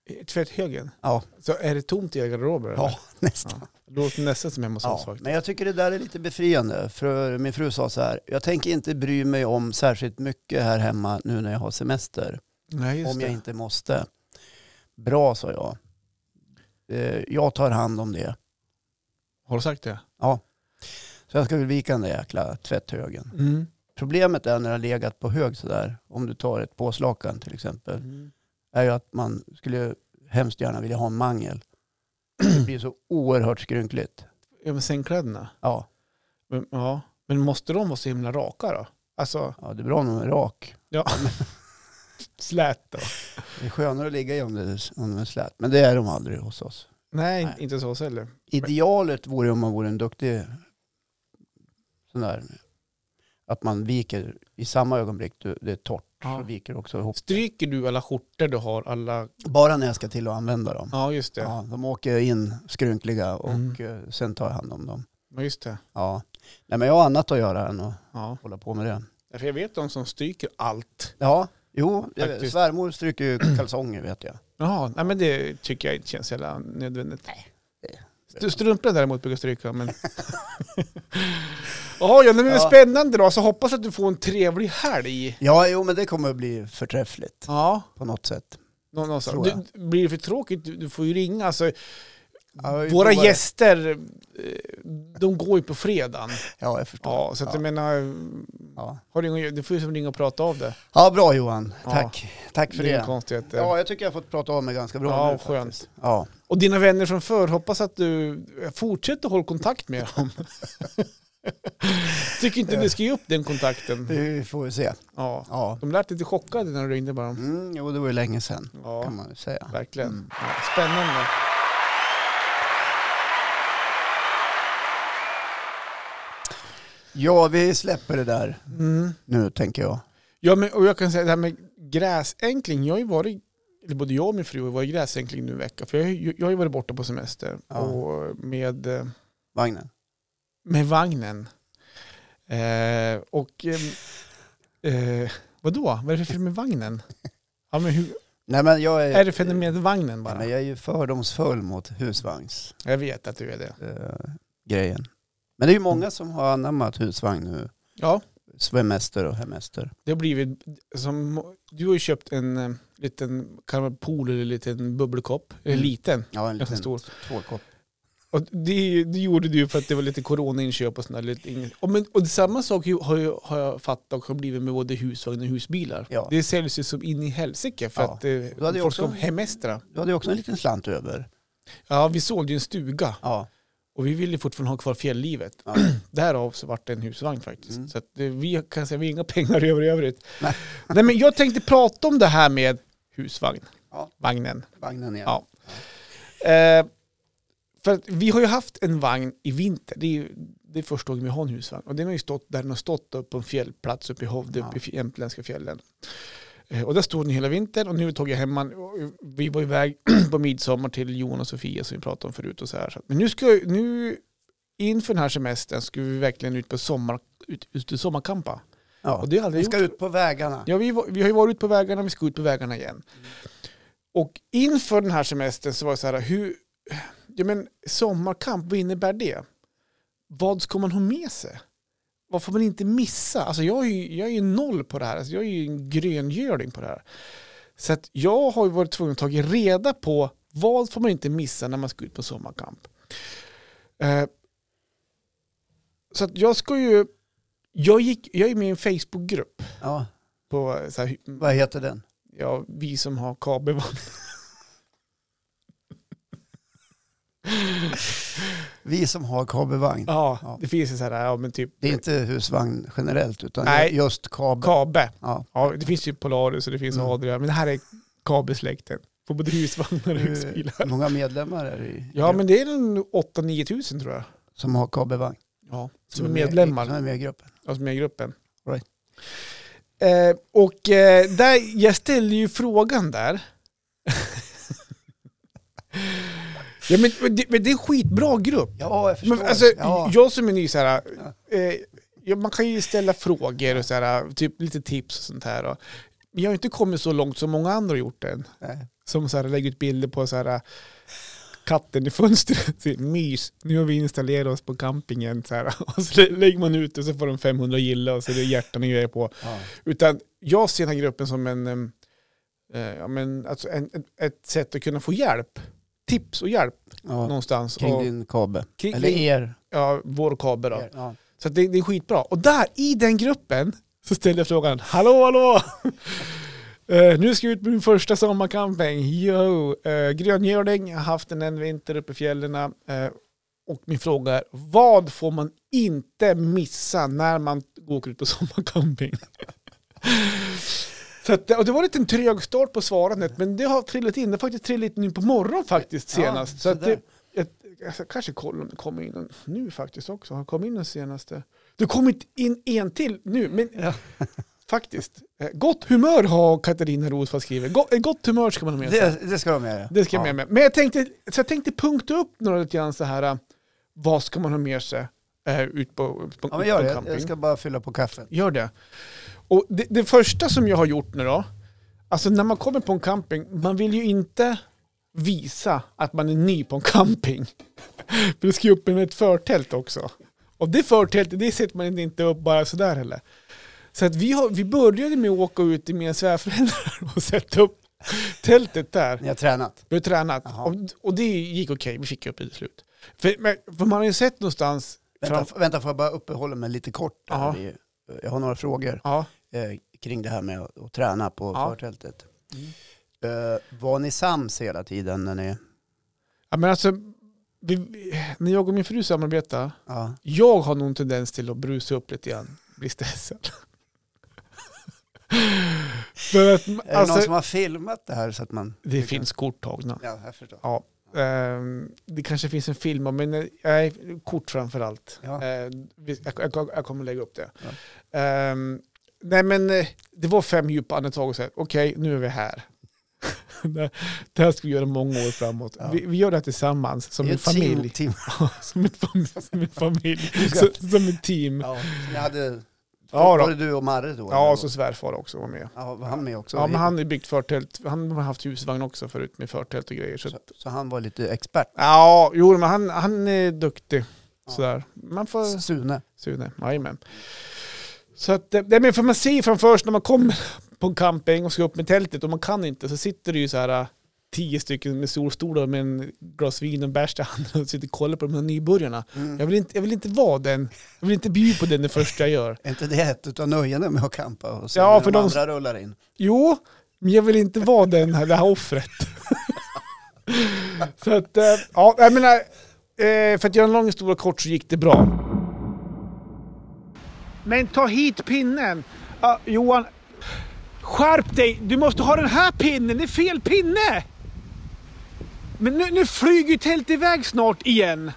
I Tvätthögen? Ja, Mm. Så är det tomt i era garderober? eller? ja nästan. Det låter nästan som hemma hos oss Ja, faktiskt. men jag tycker det där är lite befriande. För min fru sa så här, jag tänker inte bry mig om särskilt mycket här hemma nu när jag har semester. Nej, just om det. jag inte måste. Bra, sa jag. Eh, Jag tar hand om det. Har du sagt det? Så jag ska väl vika den där jäkla tvätthögen. Mm. Problemet är när det har legat på hög sådär, om du tar ett påslakan till exempel, Mm. är ju att man skulle hemskt gärna vilja ha en mangel. Det blir så oerhört skrynkligt. Ja, men sängkläderna? Ja, Men, ja. men måste de vara så himla raka då? Alltså, ja det är bra om de är rak. ja. Slät då? Det är skönare att ligga i om det om de är slät, men det är de aldrig hos oss. Nej, Nej. inte så hos heller. Idealet vore om man vore en duktig sån där, att man viker i samma ögonblick du, det är torrt, Ja. så viker också ihop. Stryker du alla skjortor du har? Alla... Bara när jag ska till att använda dem. Ja, just det. Ja. Ja, de åker in skrynkliga och Mm. eh, sen tar jag hand om dem. just det. Ja. Nej, men jag har annat att göra än att Ja. hålla på med det. För jag vet de som stryker allt. Ja, jo, jag- Faktiskt. svärmor stryker ju kalsonger vet jag. Ja, nej, men det tycker jag inte känns jävla nödvändigt. det- St- Strumporna däremot brukar jag stryka, men... Jaha, ja, nej, men Ja. spännande då. Så hoppas att du får en trevlig helg. Ja, jo, men det kommer att bli förträffligt Ja, på något sätt. nå- någonstans. Tror jag. Du, blir det för tråkigt, du, du får ju ringa. Alltså, Ja, vi våra provar. gäster, eh, de går ju på fredagen. Ja, jag förstår. Ja, så att jag menar, Ja. har du, ingen- du får ju som ringa och prata av det. ja, bra Johan. Ja. Tack. Tack för Det är inga det. konstigheter. Ja, jag tycker jag har fått prata av mig ganska bra eh, Ja, nu skönt. faktiskt. Ja, Och dina vänner från förr, hoppas att du fortsätter hålla kontakt med dem. Tycker inte du ska ge upp den kontakten. det får vi se. Ja. Ja. De lät lite chockade när du ringde bara. Mm, jo, det var ju länge sedan Ja, kan man ju säga. verkligen. Mm. Ja, Spännande. Ja, vi släpper det där Mm. nu tänker jag. Ja, men, och jag kan säga det här med gräsänkling. Jag har ju varit, eller både jag och min fru har varit gräsänkling nu en vecka. För jag, har ju- jag har ju varit borta på semester Ja. och med, eh, Vagnen. med vagnen. Eh, och eh, eh, vadå? Vad är det för fel med vagnen? Ja, men hur, Nej, men jag är... Är det fenomenet vagnen Nej, bara? Men jag är ju fördomsfull mot husvagnsgrejen. Jag vet att du är det. grejen. men det är ju många som har anammat husvagn nu. Ja, Svemester och hemester. det har blivit som... Du har ju köpt en eh, liten, kan man pool eller liten bubbelkopp. Eller Mm. liten. Ja, en Ganska liten stor. tvålkopp. Och det, är ju- det gjorde du för att det var lite coronainköp och sådär. Lite, ingen- och, men, och det, samma sak ju- har jag, har jag fattat och har blivit med både husvagn och husbilar. Ja. Det säljs ju som in i helsike för Ja. att eh, Du hade ju folk ska också- hemestra. Du hade ju också en liten slant över. Ja, vi sålde ju en stuga Ja. och vi ville fortfarande ha kvar fjälllivet. Ja. Därav så vart det en husvagn faktiskt. Mm. Så att eh, vi kan säga vi har inga pengar över i övrigt. Nej. Nej. men jag tänkte prata om det här med husvagn. Ja. Vagnen. Vagnen igen. Ja. Eh, för att vi har ju haft en vagn i vinter. Det är, ju- det är första gången vi har en husvagn. Och den har ju stått där den har stått uppe på en fjällplats uppe i Hovde, Ja. uppe i fj- jämtländska fjällen. Eh, och där stod den hela vintern och nu tog jag hem den. Och Vi var iväg på midsommar till Jonas och Sofia som vi pratade om förut. Och så här. Så att- Men nu ska nu inför den här semestern skulle vi verkligen ut på sommar, ut, ut och sommarkampa. Ja. Och det har jag aldrig Vi ska gjort. ut på vägarna. Ja, vi, var- vi har ju varit ute på vägarna, vi ska ut på vägarna igen. Och inför den här semestern så var det så här, hur, ja men sommarkamp, vad innebär det? Vad ska man ha med sig? Vad får man inte missa? Alltså jag är ju, jag är ju noll på det här, alltså jag är ju en gröngöling på det här. Så att jag har ju varit tvungen att ta reda på vad får man inte missa när man ska ut på sommarkamp. Eh, så att jag ska ju, jag, gick, jag är med i en Facebookgrupp Ja. på så här, Vad heter den? ja, vi som har kabelvagn. Vi som har kabelvagn. Ja, Ja. det finns ju så här, ja men typ Det är inte husvagn generellt utan Nej. just kabel. kabe. ja. Ja, det finns ju Polaris och det finns Mm. Adria, men det här är kabelsläkten. På både husvagnar och Eh, husbilar. Hur många medlemmar är det i, Ja, men det är en 8-9 tusen tror jag. som har kabelvagn? Ja, som är med- medlemmar. Som är med i gruppen. alltså med i gruppen. Right. Eh, och eh, där, jag ställde ju frågan där. ja, men, men, det, men det är en skitbra grupp. Ja, jag förstår. Men, alltså, ja. Jag som är ny så här, eh, ja, man kan ju ställa frågor och så här, typ lite tips och sånt här. Och jag har inte kommit så långt som många andra har gjort än. Nej. Som så här, lägger ut bilder på så här, katten i fönstret. Så, Mys, nu har vi installerat oss på campingen. Så här, och så lä- lägger man ut och så får de 500 gilla och så är det hjärtan och grejer på. Ja. Utan jag ser den här gruppen som en, em, eh, ja, men, alltså en, ett, ett sätt att kunna få hjälp. Tips och hjälp Ja. någonstans. Kring och, din kabel. kring, Eller kring, er. ja, vår kabel då. er. Ja. Så att det, det är skitbra. Och där, i den gruppen, så ställde jag frågan, hallå hallå! Eh, nu ska jag ut på min första sommarcamping. Yo! Uh, Gröngöling, jag har haft den en vinter uppe i fjällen. eh, och min fråga är, vad får man inte missa när man åker ut på sommarcamping? så att, och det var en liten trög start på svarandet, men det har trillat in. Det har faktiskt trillat in nu på morgonen faktiskt Ja, senast. så att sådär. det, jag, jag ska kanske kolla om det kommer in en nu faktiskt också. Har det kommit in den senaste? Det har kommit in en till nu, men faktiskt. Eh, Gott humör har Katarina Rosvall skrivit. Gott, eh, gott humör ska man ha med sig. Det, det ska de göra. Det ska jag ja. med mig. Men jag tänkte, så jag tänkte punkta upp några lite grann så här, eh, vad ska man ha med sig eh, ut på, på, Ja, men ut gör på det. Jag- camping? Jag ska bara fylla på kaffet. Gör det. Och det, det första som jag har gjort nu då, alltså när man kommer på en camping, man vill ju inte visa att man är ny på en camping. För det ska ju upp med ett förtält också. Och det förtältet, det sätter man inte upp bara sådär heller. Så att vi, har, vi började med att åka ut till mina svärföräldrar och sätta upp tältet där. Ni har tränat. Vi har tränat Jaha. och, och det gick okej, vi fick upp det till slut. För, men, för man har ju sett någonstans... Vänta, fram- f- vänta, får jag bara uppehålla mig lite kort? Ja. här i- Jag har några frågor ja, eh, kring det här med att, att träna på Ja. förtältet. Eh, var ni sams hela tiden när ni... Ja, men alltså, vi, vi- när jag och min fru samarbetar, Ja. jag har nog en tendens till att brusa upp lite grann, bli stressad. För Är att, det någon alltså, som har filmat det här så att man... det finns kort tagna. Ja, jag förstår. Ja. Ehm, det kanske finns en film om, men eh, nej, kort framför allt. Ja. Eh, vi- jag, jag, jag kommer lägga upp det. Ehm, nej men eh, det var fem djupa andetag och så här, okej nu är vi här. det det här ska vi göra många år framåt. Ja. Vi, vi gör det här tillsammans som Det är en ett team- familj. team. som en familj, som en familj, som, som ett team. Ja, ni hade... Ja, då. var det du och Marre då? Ja, eller? och så svärfar också var med. ja, var han med också? Ja, men han har ju byggt förtält, han har haft husvagn också förut med förtält och grejer. Så. så, så han var lite expert? Ja, jo, men han, han är duktig. Ja. Sådär. Man får... Sune? Sune, jajamän. Så att, eh, nej men för man ser ju framför sig när man kommer på en camping och ska upp med tältet och man kan inte så sitter det ju så här eh, tio stycken med solstolar med en glas vin och en bärs i handen och sitter och kollar på de här nybörjarna. Mm. Jag vill inte, jag vill inte vara den, jag vill inte bjuda på den det första jag gör. Är inte det ett utav nöjena med att campa och se Ja, när för de de- andra rullar in? Jo, men jag vill inte vara den här, det här offret. så att, eh, ja, jag menar, eh, för att göra en lång historia kort så gick det bra. Men ta hit pinnen! Ja, Ah, Johan, skärp dig! Du måste ha den här pinnen, det är fel pinne! Men nu, nu flyger ju tältet iväg snart igen.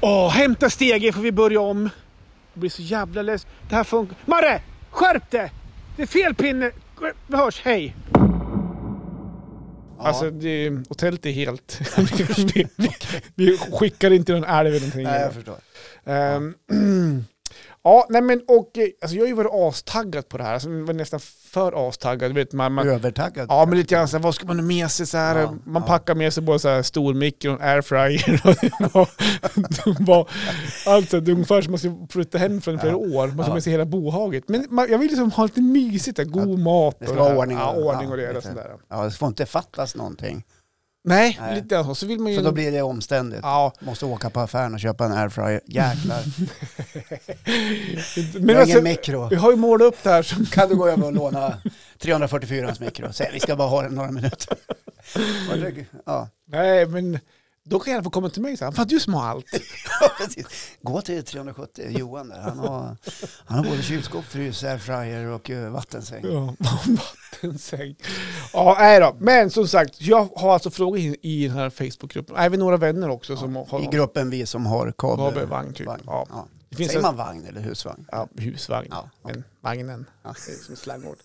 Åh, hämta stegen får vi börja om. Jag blir så jävla less. Det här funkar... Marre! Skärp dig! Det är fel pinne! Vi hörs, hej! Ja. Alltså, det, och tält är helt... vi, vi, vi skickar inte någon älv eller någonting. Nej, jag förstår. Ehm, ja, nej men och eh, alltså jag har ju varit astaggad på det här. Alltså, jag var nästan för astaggad. Du Vet, man, man, Övertaggad? ja, men lite grann så här, vad ska man ha med sig? Så här, Ja, man ja. packar med sig både så här stormikron, airfryer och det var- det var- allt så här, det är ungefär som man ska flytta hem från flera år. Man ska Ja. med sig hela bohaget. Men man, jag vill liksom ha lite mysigt, där, god mat Det ska och det vara här. ordning och- ja, ordning ja, och reda. lite. sådär. Ja, det får inte fattas någonting. Nej, Nej. lite grann så. Så vill man ju... För då blir det omständigt. Mm. Ja, Måste åka på affären och köpa en airfryer. Jäklar. men Men jag har alltså, ingen mikro. jag har ju målat upp det här som Kan du gå över och låna 344 ans mikro? Säg, vi ska bara ha den några minuter. Och det- Ja, Nej, men då kan jag få komma till mig och säga, fan du som har allt. precis. Gå till 370, Johan där. Han har, han har både kylskåp, frys, airfryer och eh, vattensäng. Ja, vattensäng. Ja, nej då. Men som sagt, jag har alltså frågor i, i den här Facebookgruppen. Även några vänner också som har I gruppen vi som har kabel. kabelvagn typ. Vagn. Ja. Ja. Det finns Säger en- man vagn eller husvagn? Ja, husvagn. Ja, Men vagnen, Ja. det är som slangord.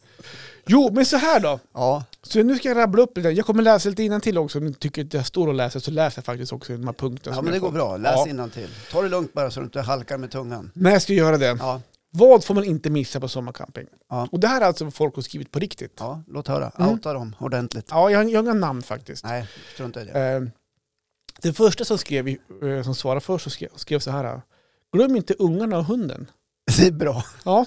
Jo, men så här då. Ja, Så nu ska jag rabbla upp det. Jag kommer läsa lite till också. Om ni tycker att jag står och läser så läser jag faktiskt också de här punkterna. ja som men det jag går får. bra. Läs Ja. innantill. Ta det lugnt bara så du inte halkar med tungan. Nej, jag ska göra det. Ja, Vad får man inte missa på sommarcamping? Ja. Och det här är alltså vad folk har skrivit på riktigt. Ja, Ja, låt höra. Mm. Outa dem ordentligt. jag, har- jag har inga namn faktiskt. Nej, strunta i det. Eh, den första som skrev, i- eh, som svarade först, så skrev, skrev så här. Glöm inte ungarna och hunden. Det är bra. Ja.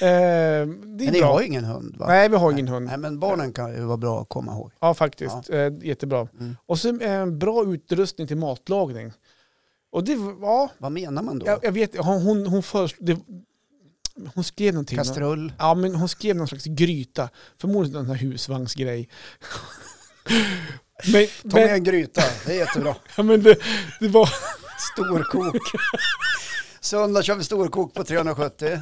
Eh, det är Men ni bra. har ju ingen hund va? Nej, vi har ingen hund. Nej, men barnen kan ju vara bra att komma ihåg. Ja, faktiskt. Eh, jättebra. Mm. Och så eh, bra utrustning till matlagning. Och det var, ja, Vad menar man då? jag, jag vet, hon, hon, hon föreslog, det, hon skrev någonting. Kastrull? Ja, men hon skrev någon slags gryta. Förmodligen någon sån här husvagnsgrej. men Ta med men, en gryta, det är jättebra. ja, men det, det var... Storkok. Söndag kör vi storkok på 370. Eh,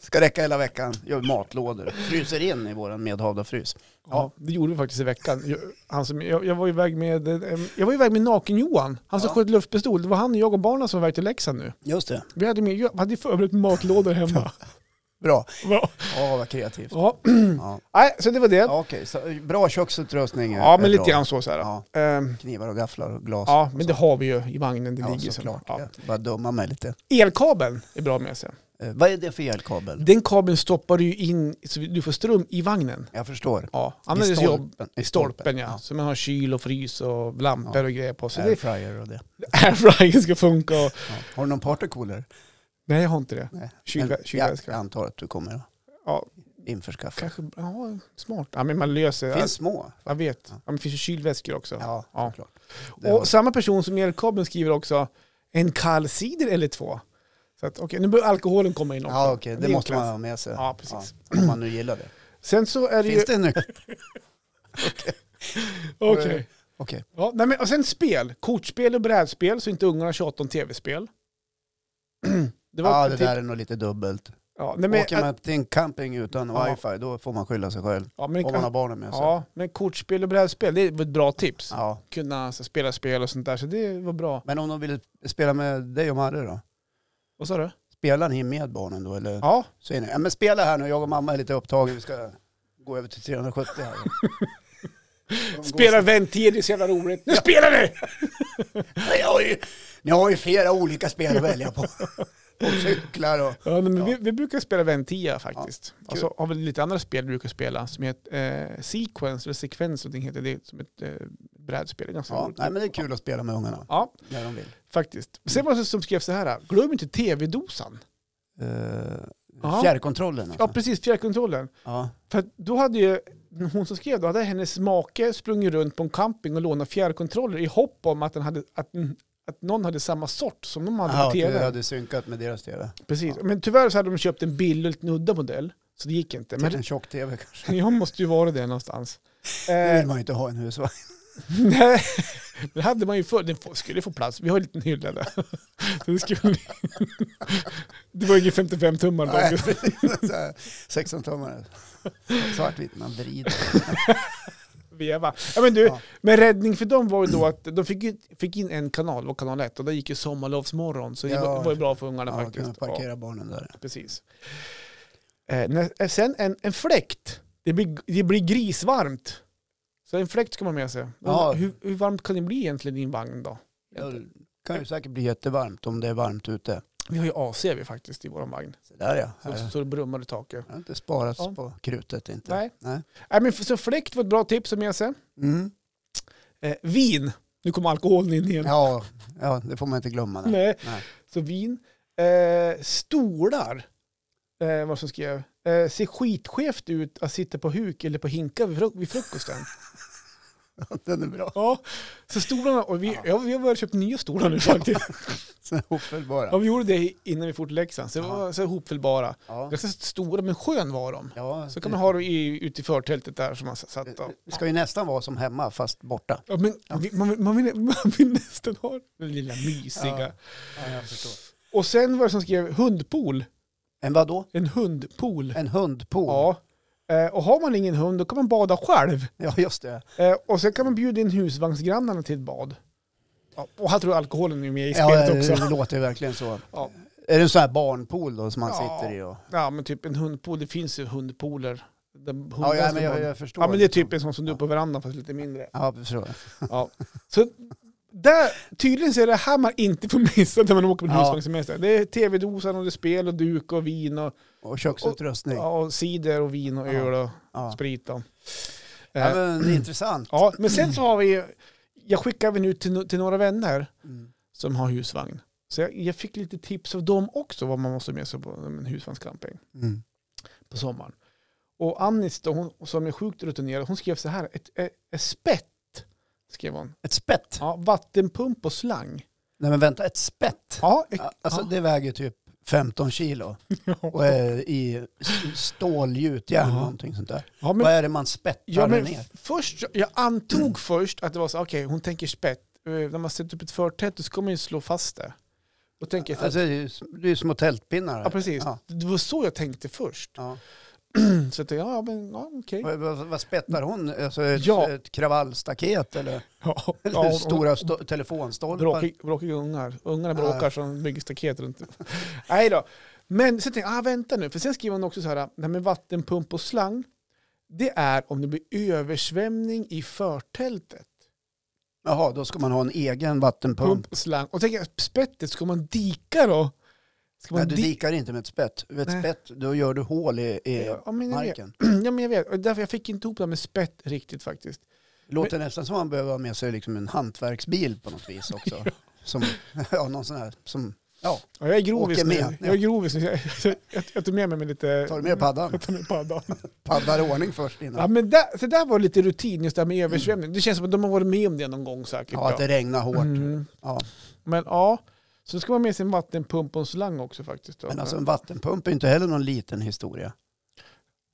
ska räcka hela veckan. Gör matlådor. Fryser in i våran medhavda frys. Ja, det gjorde vi faktiskt i veckan. Jag, han som, jag, jag var iväg med, eh, jag var iväg med Naken-Johan, han som Ja. sköt luftpistol. Det var han och jag och barnen som var iväg till Leksand nu. Just det. Vi hade, med, jag hade förberett matlådor hemma. Bra. Ja. Ja, vad kreativt. Ja. Ja. Nej, så det var det. Ja, Okej, så bra köksutrustning. är- Ja, är men lite bra. grann så. så här. Ja. Ehm, Knivar och gafflar och glas. ja, men det har vi ju i vagnen. Det Ja, ligger så. såklart. Ja. Jag bara dumma mig lite. Elkabeln är bra med sig. Eh, vad är det för elkabel? Den kabeln stoppar du ju in så du får ström i vagnen. Jag förstår. Ja, annars är det jobb. I stolpen ja. Ja. Så man har kyl och frys och lampor Ja. och grejer på. Så det, Airfryer och det. airfryern ska funka och... Ja. Har du någon partycooler? Nej, jag har inte det. Nej. Kylvä- Men Jag Kylväska. antar att du kommer att Ja, införskaffa. kanske... Ja, smart. Ja, men man löser... Finns små? Jag vet. Ja. Ja, men det finns ju kylväskor också. Ja, Ja. såklart. Det har- Och samma person som elkabeln skriver också en kall cider eller två. Så att, okej, nu börjar alkoholen komma in också. Ja, okej, det är måste en man klass. ha med sig. Ja, precis. Ja, om man nu gillar det. Sen så är det Finns ju... det nu? Okej. Okej. Ja, nej, men, och sen spel. Kortspel och brädspel, så inte ungarna tjatar om tv-spel. det Ja, det typ- där är nog lite dubbelt. Ja, nej, men, Åker man till en camping utan Ja. wifi, då får man skylla sig själv. ja, men, Om man har barnen med sig. Ja. ja, men kortspel och brädspel, det var ett bra tips. Kunna så, spela spel och sånt där, så det var bra. Men om de vill spela med dig och Marre då? Vad sa du? Spelar ni med barnen då? Eller Ja, säger ni, ja men spela här nu, jag och mamma är lite upptagen, vi ska gå över till 370 här. De går spela Ventil, det är så jävla roligt. Nu spelar vi! Nej, jag har ju, ni har ju flera olika spel att välja på. Och cyklar och... Ja, nej, men Ja. Vi, vi brukar spela Ventia faktiskt. och så kul. har vi lite andra spel vi brukar spela som heter eh, Sequence, eller Sekvens, någonting heter det, som ett eh, brädspel. Det är Ganska Ja, roligt. nej, men det är kul att spela med ungarna Ja, när de vill. faktiskt. Sen var det som skrev så här, glöm inte tv-dosan. Uh, Ja. fjärrkontrollen alltså. Eh, Ja, precis, fjärrkontrollen. Ja. För att då hade ju hon som skrev, då hade hennes make sprungit runt på en camping och lånat fjärrkontroller i hopp om att, den hade, att, att någon hade samma sort som de hade Aha, på att du tv. hade synkat med deras tv. Precis. Men tyvärr så hade de köpt en billig, lite nudda modell, så det gick inte. Till Men en tjock-tv kanske. jag måste ju vara det någonstans. Det Eh, vill man ju inte ha i en husvagn. Nej, det hade man ju förr. Den få- skulle få plats. Vi har en liten hylla där. Så det, skulle... det var ingen 55 tummar Nej, då. precis. Så här, 16 tummare. Svartvitt, man vrider. Veva. Ja, men, du, Ja. men räddning för dem var ju då att de fick, ju- fick in en kanal, var kanal 1, och där gick ju Sommarlovsmorgon. Så det Ja. var, var ju bra för ungarna Ja, kunna faktiskt. parkera barnen där. Ja, precis. Eh, när, eh, sen en, en fläkt. Det blir, det blir grisvarmt. Så en fläkt ska man ha med sig. Ja. Hur, hur varmt kan det bli egentligen i din vagn då? Ja, Det kan ju säkert bli jättevarmt om det är varmt ute. Vi har ju AC vi faktiskt i vår vagn. Så där ja. Så, Här- så det brummar i taket. Jag har inte sparat Ja. på krutet inte. Nej. Nej, men så fläkt var ett bra tips att ha med sig. Mm. Eh, vin. Nu kommer alkoholen in igen. Ja, ja, det får man inte glömma. Nej. Nej. Nej. Så vin. Eh, stolar. Eh, vad som skrev. Eh, ser skitskevt ut att sitta på huk eller på hinkar vid, fruk- vid frukosten. Den är bra. ja. Så stolarna, och vi, Ja. ja. vi har börjat köpa nya stolar nu faktiskt. Så hopfällbara. ja, vi gjorde det innan vi for till Leksand. Så, det var så hopfällbara. Ja. Ganska stora men skön var de. Ja, Så kan man ha dem i, ute i förtältet där som man s- satt och... Det ska ju nästan vara som hemma fast borta. Ja, men vi- Man, vill- man, vill, man vill nästan ha den lilla mysiga. Ja. Ja, jag förstår. Och sen var det som skrev hundpool. En vadå? En hundpool. En hundpool? Ja. Eh, och har man ingen hund då kan man bada själv. Ja, just det. Eh, och sen kan man bjuda in husvagnsgrannarna till ett bad. Ja, och här tror jag alkoholen är med i Ja, spelet det, också. det låter ju verkligen så. Ja. Är det en sån här barnpool då som man Ja. sitter i? Och... Ja, men typ en hundpool. Det finns ju hundpooler. Där hundar Ja, ja, ska men jag, bada. jag förstår. ja, men det är liksom. typ en sån som du har på verandan fast lite mindre. Ja, jag förstår. Ja. Så Där, tydligen så är det här man inte får missa när man åker på en Ja. husvagnssemester. Det är tv-dosan och det är spel och duk och vin och, Och köksutrustning. ja, och cider och vin och Ja. öl och Ja. sprit. och- Ja, men, intressant. Ja, men sen så har vi, jag skickar även ut till, no- till några vänner Mm. som har husvagn. Så jag, jag fick lite tips av dem också vad man måste ha med sig på en husvagnscamping Mm. på sommaren. Och Annis då, hon, som är sjukt rutinerad, hon skrev så här, ett, ett, ett spett skrev hon. Ett spett. Ja, vattenpump och slang. Nej men vänta, ett spett? Ja, ek- Ja, Alltså ja. det väger typ 15 kilo och är i s- stålgjutjärn Ja. eller någonting sånt där. ja, men, Vad är det man spettar ja, men ner? först, jag antog först att det var så, okej, hon tänker spett. Eh, När man sätter upp ett förtält så ska man ju slå fast det. Och tänker, Alltså, det är ju s- det är ju små tältpinnar. ja precis, Ja. det var så jag tänkte först. Ja. Så jag tänkte, ja, ja, men ja, okej. Vad, vad, vad spettar hon? Alltså ett, Ja. ett kravallstaket eller, Ja, eller ja, stora sto- telefonstolpar? bråkig, bråkiga ungar. Ungarna Ja. bråkar som bygger staket runt. Nej då. Men så tänkte jag, ah, vänta nu. För sen skriver hon också så här, ah, nej men vattenpump och slang, det är om det blir översvämning i förtältet. Jaha, då ska man ha en egen vattenpump. Pump och slang. Och tänker jag, spettet, ska man dika då? Ska Nej, man du di- dikar inte med ett spett. Med ett Nej. spett, då gör du hål i, i Ja, men jag vet. marken. ja men jag vet, Och därför jag fick inte ihop det här med spett riktigt faktiskt. Det låter nästan som man behöver ha med sig liksom en hantverksbil på något vis också. Som, ja, någon sån här som, ja, Ja, jag är grovis Åker nu. med. Jag är grovis nu. Jag, jag, jag tog med mig med lite... tar du med paddan? Jag tar med paddan. Paddar i ordning först Ja, innan. men där, så där var lite rutin, just det här med översvämning. Det känns som att de har varit med om det någon gång säkert. Ja, att det regnar hårt. Mm. Ja. Men ja, så ska man ha med sig en vattenpump och en slang också faktiskt. Då. Men alltså en vattenpump är ju inte heller någon liten historia.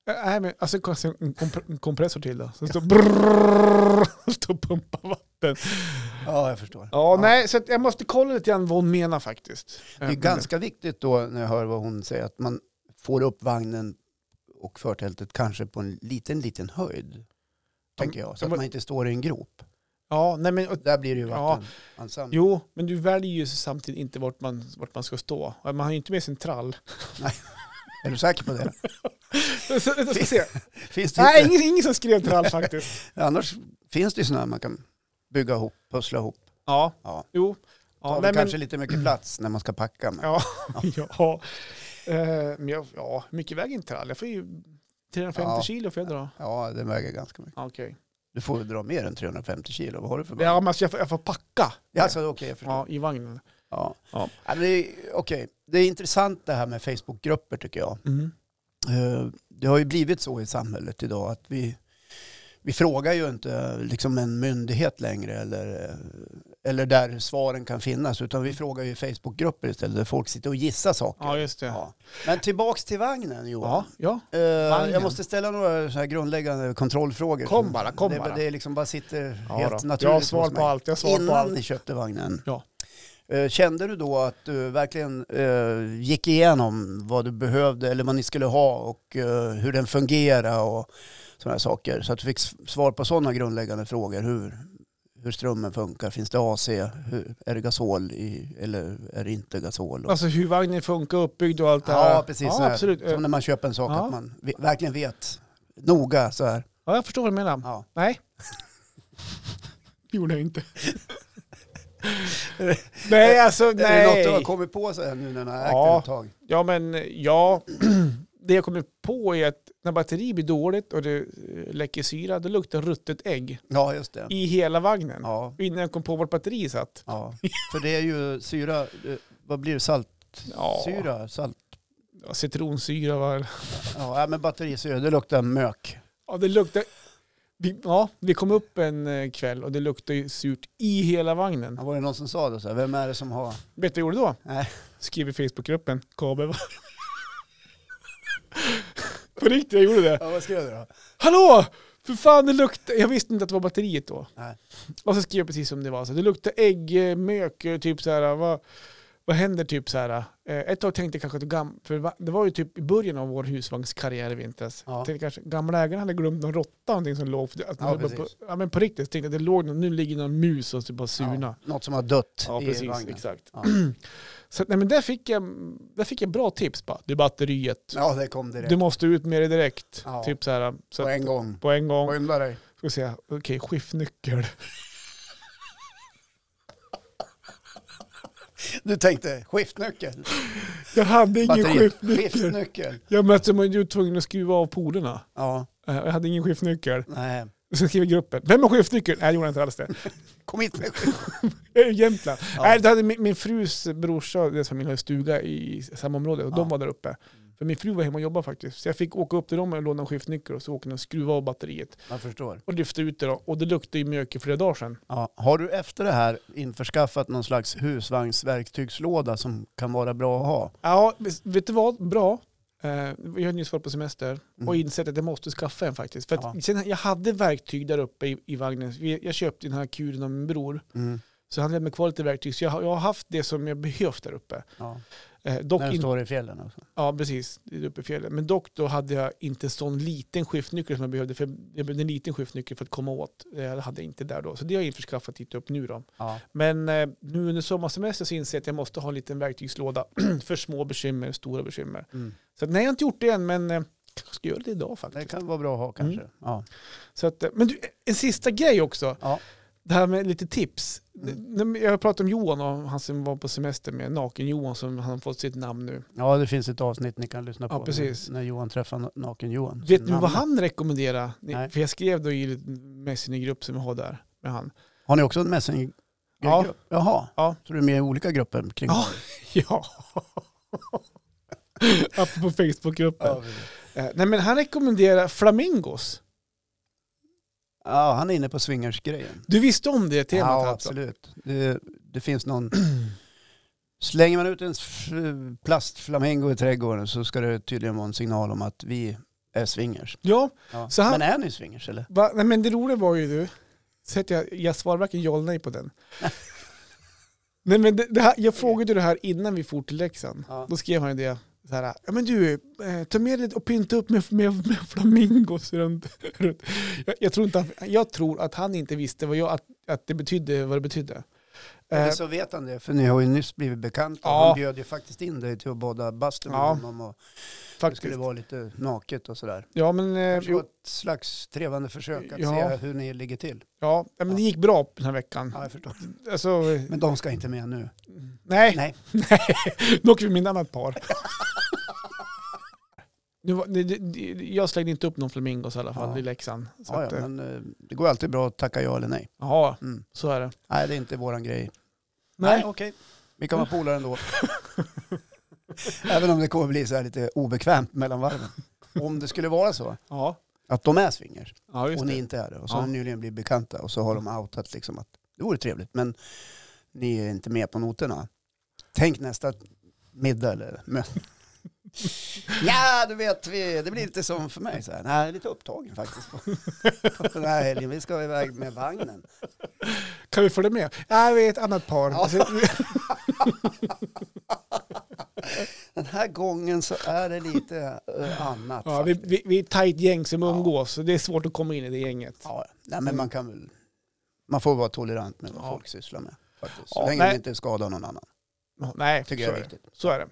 Ä- Nej, men alltså kanske en, komp- en kompressor till då. Så står brrrr, och står och pumpar vatten. Ja, jag förstår. Ja, nej, så att jag måste kolla lite grann vad hon menar faktiskt. Det är ganska viktigt då när jag hör vad hon säger att man får upp vagnen och förtältet kanske på en liten, liten höjd. Tänker jag. Så att man inte står i en grop. Ja, nej men och, Där blir det ju Ja. vattenensemble. jo, men du väljer ju samtidigt inte vart man, vart man ska stå. Man har ju inte med sig en trall. Är du säker på det? Så, så, ska se. Finns det Nej, inte- ingen, ingen som skrev trall faktiskt. Annars finns det ju sådana här man kan bygga ihop, pussla ihop. Ja, Ja. jo. Tar Ja, väl nej, men- kanske lite mycket plats när man ska packa. Men... Ja, ja. Eh, men jag, ja, hur mycket väger en trall? Jag får ju 350 Ja. kilo får jag dra. Ja, den väger ganska mycket. Ja, Okej. Du får ju dra mer än 350 kilo. Vad har du för Ja, men alltså jag, får, jag får packa Ja, alltså, okej, jag förstår. ja, i vagnen. Ja. Ja. Ja, men det, är- okej. det är intressant det här med Facebookgrupper tycker jag. Mm. Eh, Det har ju blivit så i samhället idag att vi, vi frågar ju inte liksom en myndighet längre eller, eh, eller där svaren kan finnas utan Mm. vi frågar ju i Facebookgrupper istället där folk sitter och gissar saker. Ja, just det. Ja, Ja. Men tillbaks till vagnen Johan. ja. Eh, Vagnen. jag måste ställa några så här grundläggande kontrollfrågor. Kom bara, kom det, bara. Det är liksom bara sitter Ja, helt då. naturligt jag har hos svar på mig. allt. Jag har svar på Innan allt. ni köpte vagnen, Ja. eh, kände du då att du verkligen eh, gick igenom vad du behövde eller vad ni skulle ha och eh, hur den fungerar och sådana saker? Så att du fick s- svar på sådana grundläggande frågor. Hur, hur strömmen funkar, finns det AC, hur, är det gasol i, eller är det inte gasol? Och, Alltså hur vagnen funkar uppbyggd och allt det här. Ja, precis. så Ja, här. absolut. Som när man köper en sak, Ja. att man ve- verkligen vet noga så här. Ja, jag förstår vad du menar. Ja. Nej. Det gjorde jag inte. nej, alltså nej. Är det något du har kommit på så här nu när du har ägt Ja. den ett tag? Ja, men eh, ja, det jag kommer på är att när batteri blir dåligt och det eh, läcker syra, då luktar ruttet ägg Ja, just det. i hela vagnen. Ja, Innan jag kom på vart batteriet satt. ja. för det är ju syra, eh, vad blir det, saltsyra? Ja. Salt. Ja, citronsyra var Ja, ja, men batterisyra, det luktar mök. Ja, det luktar... Vi, ja, vi kom upp en eh, kväll och det luktade ju surt i hela vagnen. Ja, var det någon som sa det så här, vem är det som har? Vet du vad jag gjorde då? Nej. Skrev i Facebookgruppen, kabel. På riktigt, jag gjorde det. Ja, vad skrev du då? Hallå! För fan det luktar... Jag visste inte att det var batteriet då. Nej. Och så skrev jag precis som det var. Så det luktar ägg, eh, mök, eh, typ så här. Vad, vad händer typ så här? Eh, Ett tag tänkte jag kanske att gam, för va- det var ju typ i början av vår husvagnskarriär i vintras. Ja. Jag tänkte kanske gamla ägaren hade glömt någon råtta någonting som låg. För det, att Ja, det var på, precis. ja men på riktigt, jag tänkte att det låg någon, nu ligger någon mus och typ bara surna. Ja, något som har dött Ja, i precis, vagnen. exakt. Ja. Så att, nej, men där fick jag, där fick jag bra tips bara. Det är batteriet. Ja, det kom direkt. Du måste ut med det direkt. Ja. Typ så här. Så På att, en gång. på en gång. Skynda dig. Ska vi se, okej, skiftnyckel. Du tänkte skiftnyckel? Jag hade ingen Batteriet. skiftnyckel. Skiftnyckel? Jag mötte man ju tvungen att skruva av polerna. Ja, Eh, Jag hade ingen skiftnyckel. nej. Så skrev jag i gruppen, vem har skiftnyckel? Nej, jag gjorde inte alls det. Kom hit med skift. Jag är i Jämtland. Ja. Nej, det hade min, min frus brorsa och deras familj har ju stuga i samma område och de Ja. var där uppe. För min fru var hemma och jobbade faktiskt. Så jag fick åka upp till dem och låna en skiftnyckel och så åkte de och skruva av batteriet Jag förstår. och lyfte ut det då. Och det luktade ju mjölk i flera dagar sedan. Ja. Har du efter det här införskaffat någon slags husvagnsverktygslåda som kan vara bra att ha? Ja, vet du vad? Bra. Eh, Jag har nyss varit på semester Mm. och insett att jag måste skaffa en faktiskt. För att Ja. sen, jag hade verktyg där uppe i, i vagnen. Vi- Jag köpte den här kuren av min bror. Mm. Så han lämnade mig kvar lite verktyg. Så jag, har- jag har haft det som jag behövt där uppe. Ja. Eh, dock När du inte- står i fjällen också. Ja, precis. Det är uppe i fjällen. Men dock då hade jag inte en sån liten skiftnyckel som jag behövde. För jag behövde en liten skiftnyckel för att komma åt. Eh, Det hade jag inte där då. Så det har jag införskaffat hit upp nu då. Ja. Men eh, nu under sommarsemestern så inser jag att jag måste ha en liten verktygslåda för små bekymmer, stora bekymmer. Mm. Så att, nej, jag har inte gjort det än, men eh, kanske ska göra det idag Det faktiskt. Mm. kan vara bra att ha kanske. Ja. Så att, eh, men du, en sista grej också. Ja. Det här med lite tips. Mm. Jag har pratat om Johan och han som var på semester med Naken-Johan som han har fått sitt namn nu. ja, det finns ett avsnitt ni kan lyssna Ja, på precis. När, när Johan träffar Naken-Johan. Vet ni vad Namnet. han rekommenderar? Ni- Nej. För jag skrev då i en messengergrupp som vi har där med han. Har ni också en mässing? Ja. Jaha, Ja. så du är med i olika grupper kring Ja. Ja. Apropå Facebookgruppen. Ja, Eh, Nej men han rekommenderar flamingos. ja, han är inne på swingersgrejen. Du visste om det temat Ja, alltså? absolut. Det, det finns någon... Slänger man ut en f- plastflamingo i trädgården så ska det tydligen vara en signal om att vi är swingers. Ja. Ja. Så han- Men är ni swingers eller? Va? Nej men det roliga var ju du, så att jag, jag svarade varken ja eller nej på den. nej men det, det här, jag frågade ju det här innan vi for till Leksand. Ja. Då skrev han ju det. Så här, ja men du, eh, ta med lite och pynta upp med, med, med flamingos runt. runt. Jag, jag, tror inte att, jag tror att han inte visste vad, jag, att, att det betydde, vad det betydde. Eller Eh, så vet han det, för ni har ju nyss blivit bekanta. Ja. Han bjöd ju faktiskt in dig till att bada bastu med Ja, honom och det faktiskt. skulle vara lite naket och sådär. Ja men, eh, Det var jo, ett slags trevande försök att Ja. se hur ni ligger till. ja, ja, men det gick bra den här veckan. Ja, jag förstår. Alltså, eh, Men de ska inte med nu. nej. Nej. Nu åker vi med ett annat par. nu var, det, det, det, jag slängde inte upp någon flamingos i alla fall Ja. i Leksand. Så Ja, att, ja, eh, men eh, det går alltid bra att tacka ja eller nej. jaha, Mm. så är det. Nej, det är inte våran grej. Nej. okej. Vi kan vara polare ändå. Även om det kommer bli så här lite obekvämt mellan varven. Om det skulle vara så Ja, att de är swingers ja just och ni det. inte är det och så Ja. har ni nyligen blivit bekanta och så har de outat liksom att det vore trevligt men ni är inte med på noterna. Tänk nästa middag eller möte. Ja, du vet, vi, det blir lite som för mig. Så här. Nej, jag är lite upptagen faktiskt på, på den här helgen. Vi ska iväg med vagnen. Kan vi följa med? Nej, vi är ett annat par. Ja. Alltså, Den här gången så är det lite eh, annat. ja, vi, vi, vi är ett tajt gäng som umgås, så det är svårt att komma in i det gänget. Ja, nej, men man kan väl... Man får vara tolerant med vad Ja. folk sysslar med. Faktiskt. Så Ja, länge nej. de inte skadar någon annan. Nej, så Tycker jag är är det. viktigt. Så är det.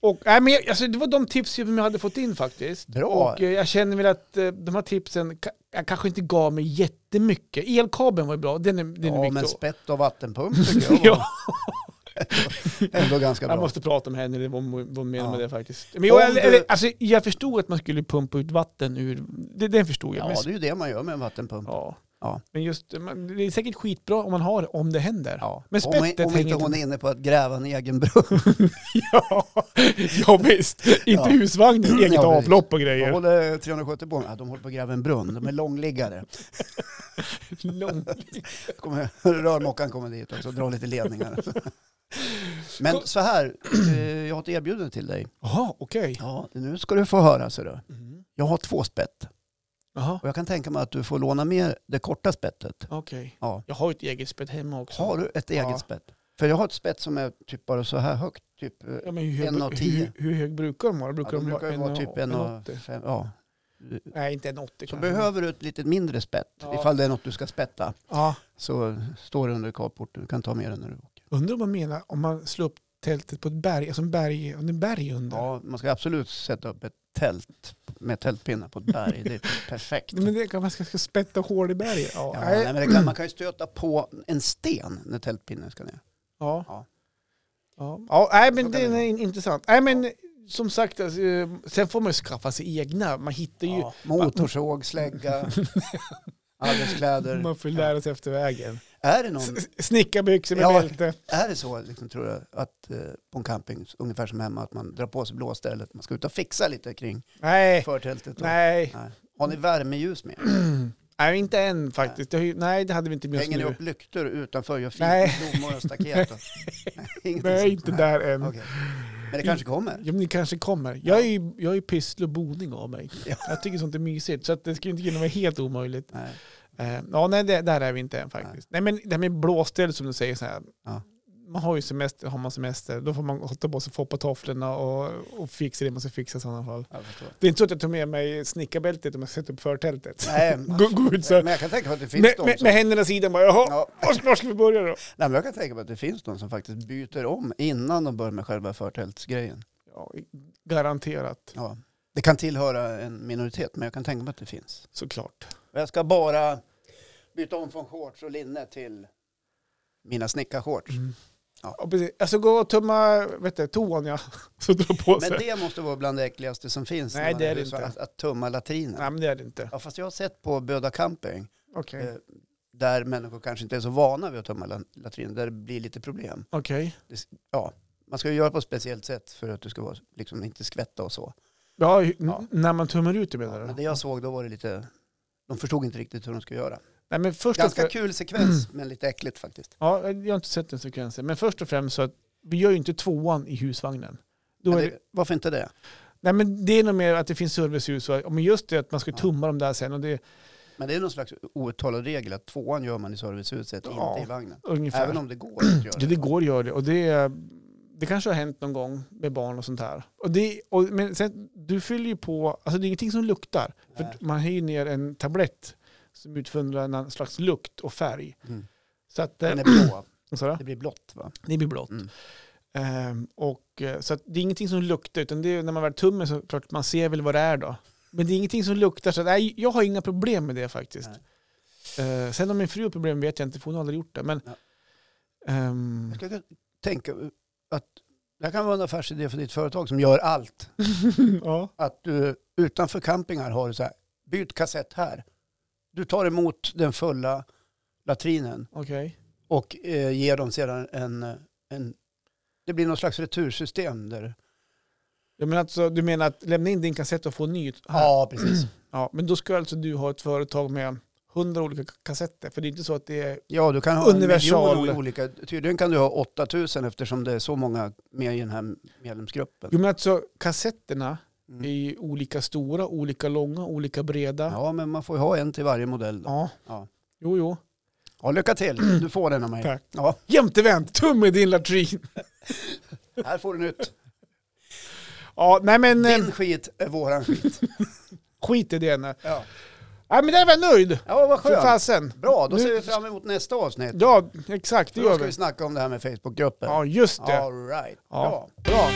Och, nej, men jag, alltså, det var de tips som jag hade fått in faktiskt. Bra. Och eh, jag känner väl att eh, de här tipsen, ka- jag kanske inte gav mig jättemycket. Elkabeln var ju bra, den är, den är Ja, viktig. men att- spett och vattenpump tycker jag Ja. var ändå ganska Jag bra. måste prata med henne, vad vad hon menar Ja. med det faktiskt. Men jag, Om du- eller, alltså, jag förstod att man skulle pumpa ut vatten ur, det, den förstod jag. Ja, men, det är ju det man gör med en vattenpump. ja. Ja. men just, man, det är säkert skitbra om man har om det händer. Ja. Men om, spettet om inte hänger hon inte är inne på att gräva en egen brunn. ja. ja, visst. Inte Ja. husvagnen, eget Ja, precis. avlopp och Vad grejer. håller 370 på med? Ja, de håller på att gräva en brunn. De är långliggare. Långt. Kommer, rörmokaren kommer dit också och drar lite ledningar. Men så här, eh, jag har ett erbjudande till dig. Jaha, okej. Ja, nu ska du få höra. Så då. Mm. Jag har två spett. Jaha, Och jag kan tänka mig att du får låna med det korta spettet. okej. Ja. Jag har ju ett eget spett hemma också. Har du ett Ja. eget spett? För jag har ett spett som är typ bara så här högt. Typ, eh, Ja, men hur, hög, En av hur, tio. hur hög brukar de vara? Brukar ja, de brukar ju vara och- typ en och 80? fem, ja. Nej, inte en 80 Så kanske. behöver du ett lite mindre spett, Ja. ifall det är något du ska spätta, Ja. så står det under carporten. Du kan ta med den när du åker. Undrar om man menar om man slår upp tältet på ett berg, alltså en berg, om det är berg under. Ja, man ska absolut sätta upp ett tält med tältpinnar på ett berg. Det är perfekt. Nej, Men det kan man ska, ska spätta hål i berget. Ja. Ja, nej. nej, men det kan, man kan ju stöta på en sten när tältpinnen ska ner. ja. Ja. Ja, ja nej, men Så det kan det är in- intressant. Nej, men som sagt, alltså, eh, sen får man ju skaffa sig egna. Man hittar ju... Ja, motorsåg, slägga, arbetskläder. Man får lära sig efter vägen. Är det, någon, S- Snickarbyxor med Ja. bälte. är det så, liksom, tror du, att eh, på en camping, ungefär som hemma, att man drar på sig blåstället, man ska ut och fixa lite kring Eh, Nej, förtältet? och- nej. Nej. Har ni värmeljus med? nej, inte än faktiskt. Det har ju, nej, det hade vi inte med oss Hänger ni nu. upp lyktor utanför, gör fint Nej. med blommor och staket? och- Nej, ingenting Nej, sånt. inte där än. Okej. Men det kanske kommer? Ja, men ni kanske kommer. Jag är ju, jag är ju pyssel och boning av mig. Ja. Jag tycker sånt är mysigt, så att det skulle inte kunna vara helt omöjligt. Nej. Eh, ja, nej, det, där är vi inte än faktiskt. Nej, men det här med blåställ som du säger, så här, Ja. man har ju semester, har man semester, då får man hotta på sig, få på tofflorna och, och fixa det man ska fixa i sådana fall. Ja, jag förstår. Det är inte så att jag tar med mig snickarbältet om jag sätter upp förtältet. Nej, Gå, gå ut så här. men jag kan tänka mig att det finns Med, de med, som... med händerna i sidan bara, jaha, Ja. var, ska- var ska vi börja då? Nej, men jag kan tänka mig att det finns de som faktiskt byter om innan de börjar med själva förtältsgrejen. Ja, garanterat, Ja. Det kan tillhöra en minoritet, men jag kan tänka mig att det finns. såklart. Och Jag ska bara byta om från shorts och linne till mina snickarshorts. Ja, precis. Alltså gå och tumma vet du, toan ja, så dra på sig. Men det måste vara bland det äckligaste som finns. när Nej, man det är är det husvagn, inte. Att, att tumma latrinen. Nej Mm. men det är det inte. Ja, fast jag har sett på Böda camping, Okej. eh, där människor kanske inte är så vana vid att tömma la- latrinen, där det blir lite problem. Okej. Man ska ju göra på ett speciellt sätt för att du ska vara, liksom, inte skvätta och så. Ja, n- Ja. när man tummar ut det menar du? Men det jag såg, då var det lite... De förstod inte riktigt hur de skulle göra. Nej men först och Ganska främst, kul sekvens, Mm. men lite äckligt faktiskt. ja, jag har inte sett den sekvensen, men först och främst så att vi gör ju inte tvåan i husvagnen. Då Men är det, det, varför inte det? nej men det är nog mer att det finns servicehus, va? men just det att man ska Ja. tumma dem där sen och det är Men det är någon slags outtalad regel att tvåan gör man i servicehuset, Ja, inte i vagnen. ungefär. Även om det går att göra Ja, det går att göra det. Och det, det kanske har hänt någon gång med barn och sånt här. Och det, och, men sen, du fyller ju på, alltså det är ingenting som luktar. Nej. För man har ju ner en tablett som utfundrar en annan slags lukt och färg. Mm. Så att, Den eh, är blå, sådär, det blir blått va? det blir blått. Mm. Ehm, och, eh, så att det är ingenting som luktar, utan det är, när man väl tummen så klart man ser väl vad det är då. Men det är ingenting som luktar, så att, nej, jag har inga problem med det faktiskt. Eh, sen om min fru har problem vet jag inte, för hon har aldrig gjort det. Men, Ja. ehm, Jag skulle kunna tänka att det här kan vara en affärsidé för ditt företag som gör allt. ja. Att du utanför campingar har du så här, byt kassett här. Du tar emot den fulla latrinen Okej. och eh, ger dem sedan en, en... Det blir någon slags retursystem där. Jag menar alltså, du menar att lämna in din kassett och få en ny? här? Ja, precis. ja. Men då ska alltså du ha ett företag med hundra olika kassetter? För det är inte så att det är... Ja, du kan ha Universal. en miljon olika. Tydligen kan du ha 8000 eftersom det är så många med i den här medlemsgruppen. Jo men alltså kassetterna Mm. är ju olika stora, olika långa, olika breda. Ja. Ja, men man får ju ha en till varje modell. Då. Ja. Jo, jo. Ja, lycka till. Du får den av mig. Tack. Ja, Jämtevänt, tumme i din latrin. här får du nytt. Ja, nej men eh, Din skit är våran skit. skit i det. Nej Ja, Nej, men där var jag nöjd. ja vad För skönt. fasen. Bra, då Nu- ser vi fram emot nästa avsnitt. Ja, exakt det Då gör ska vi. vi snacka om det här med Facebookgruppen. Ja, just det. All right. Ja. Bra. Bra.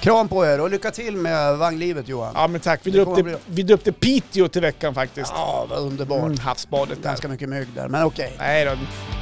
Kram på er och lycka till med vagnlivet Johan. Ja men tack, vi Det kommer döpte, vi döpte Piteå till veckan faktiskt. Ja, vad underbart. Mm, havsbadet där. Ganska mycket mygg där, men okej. Nej då.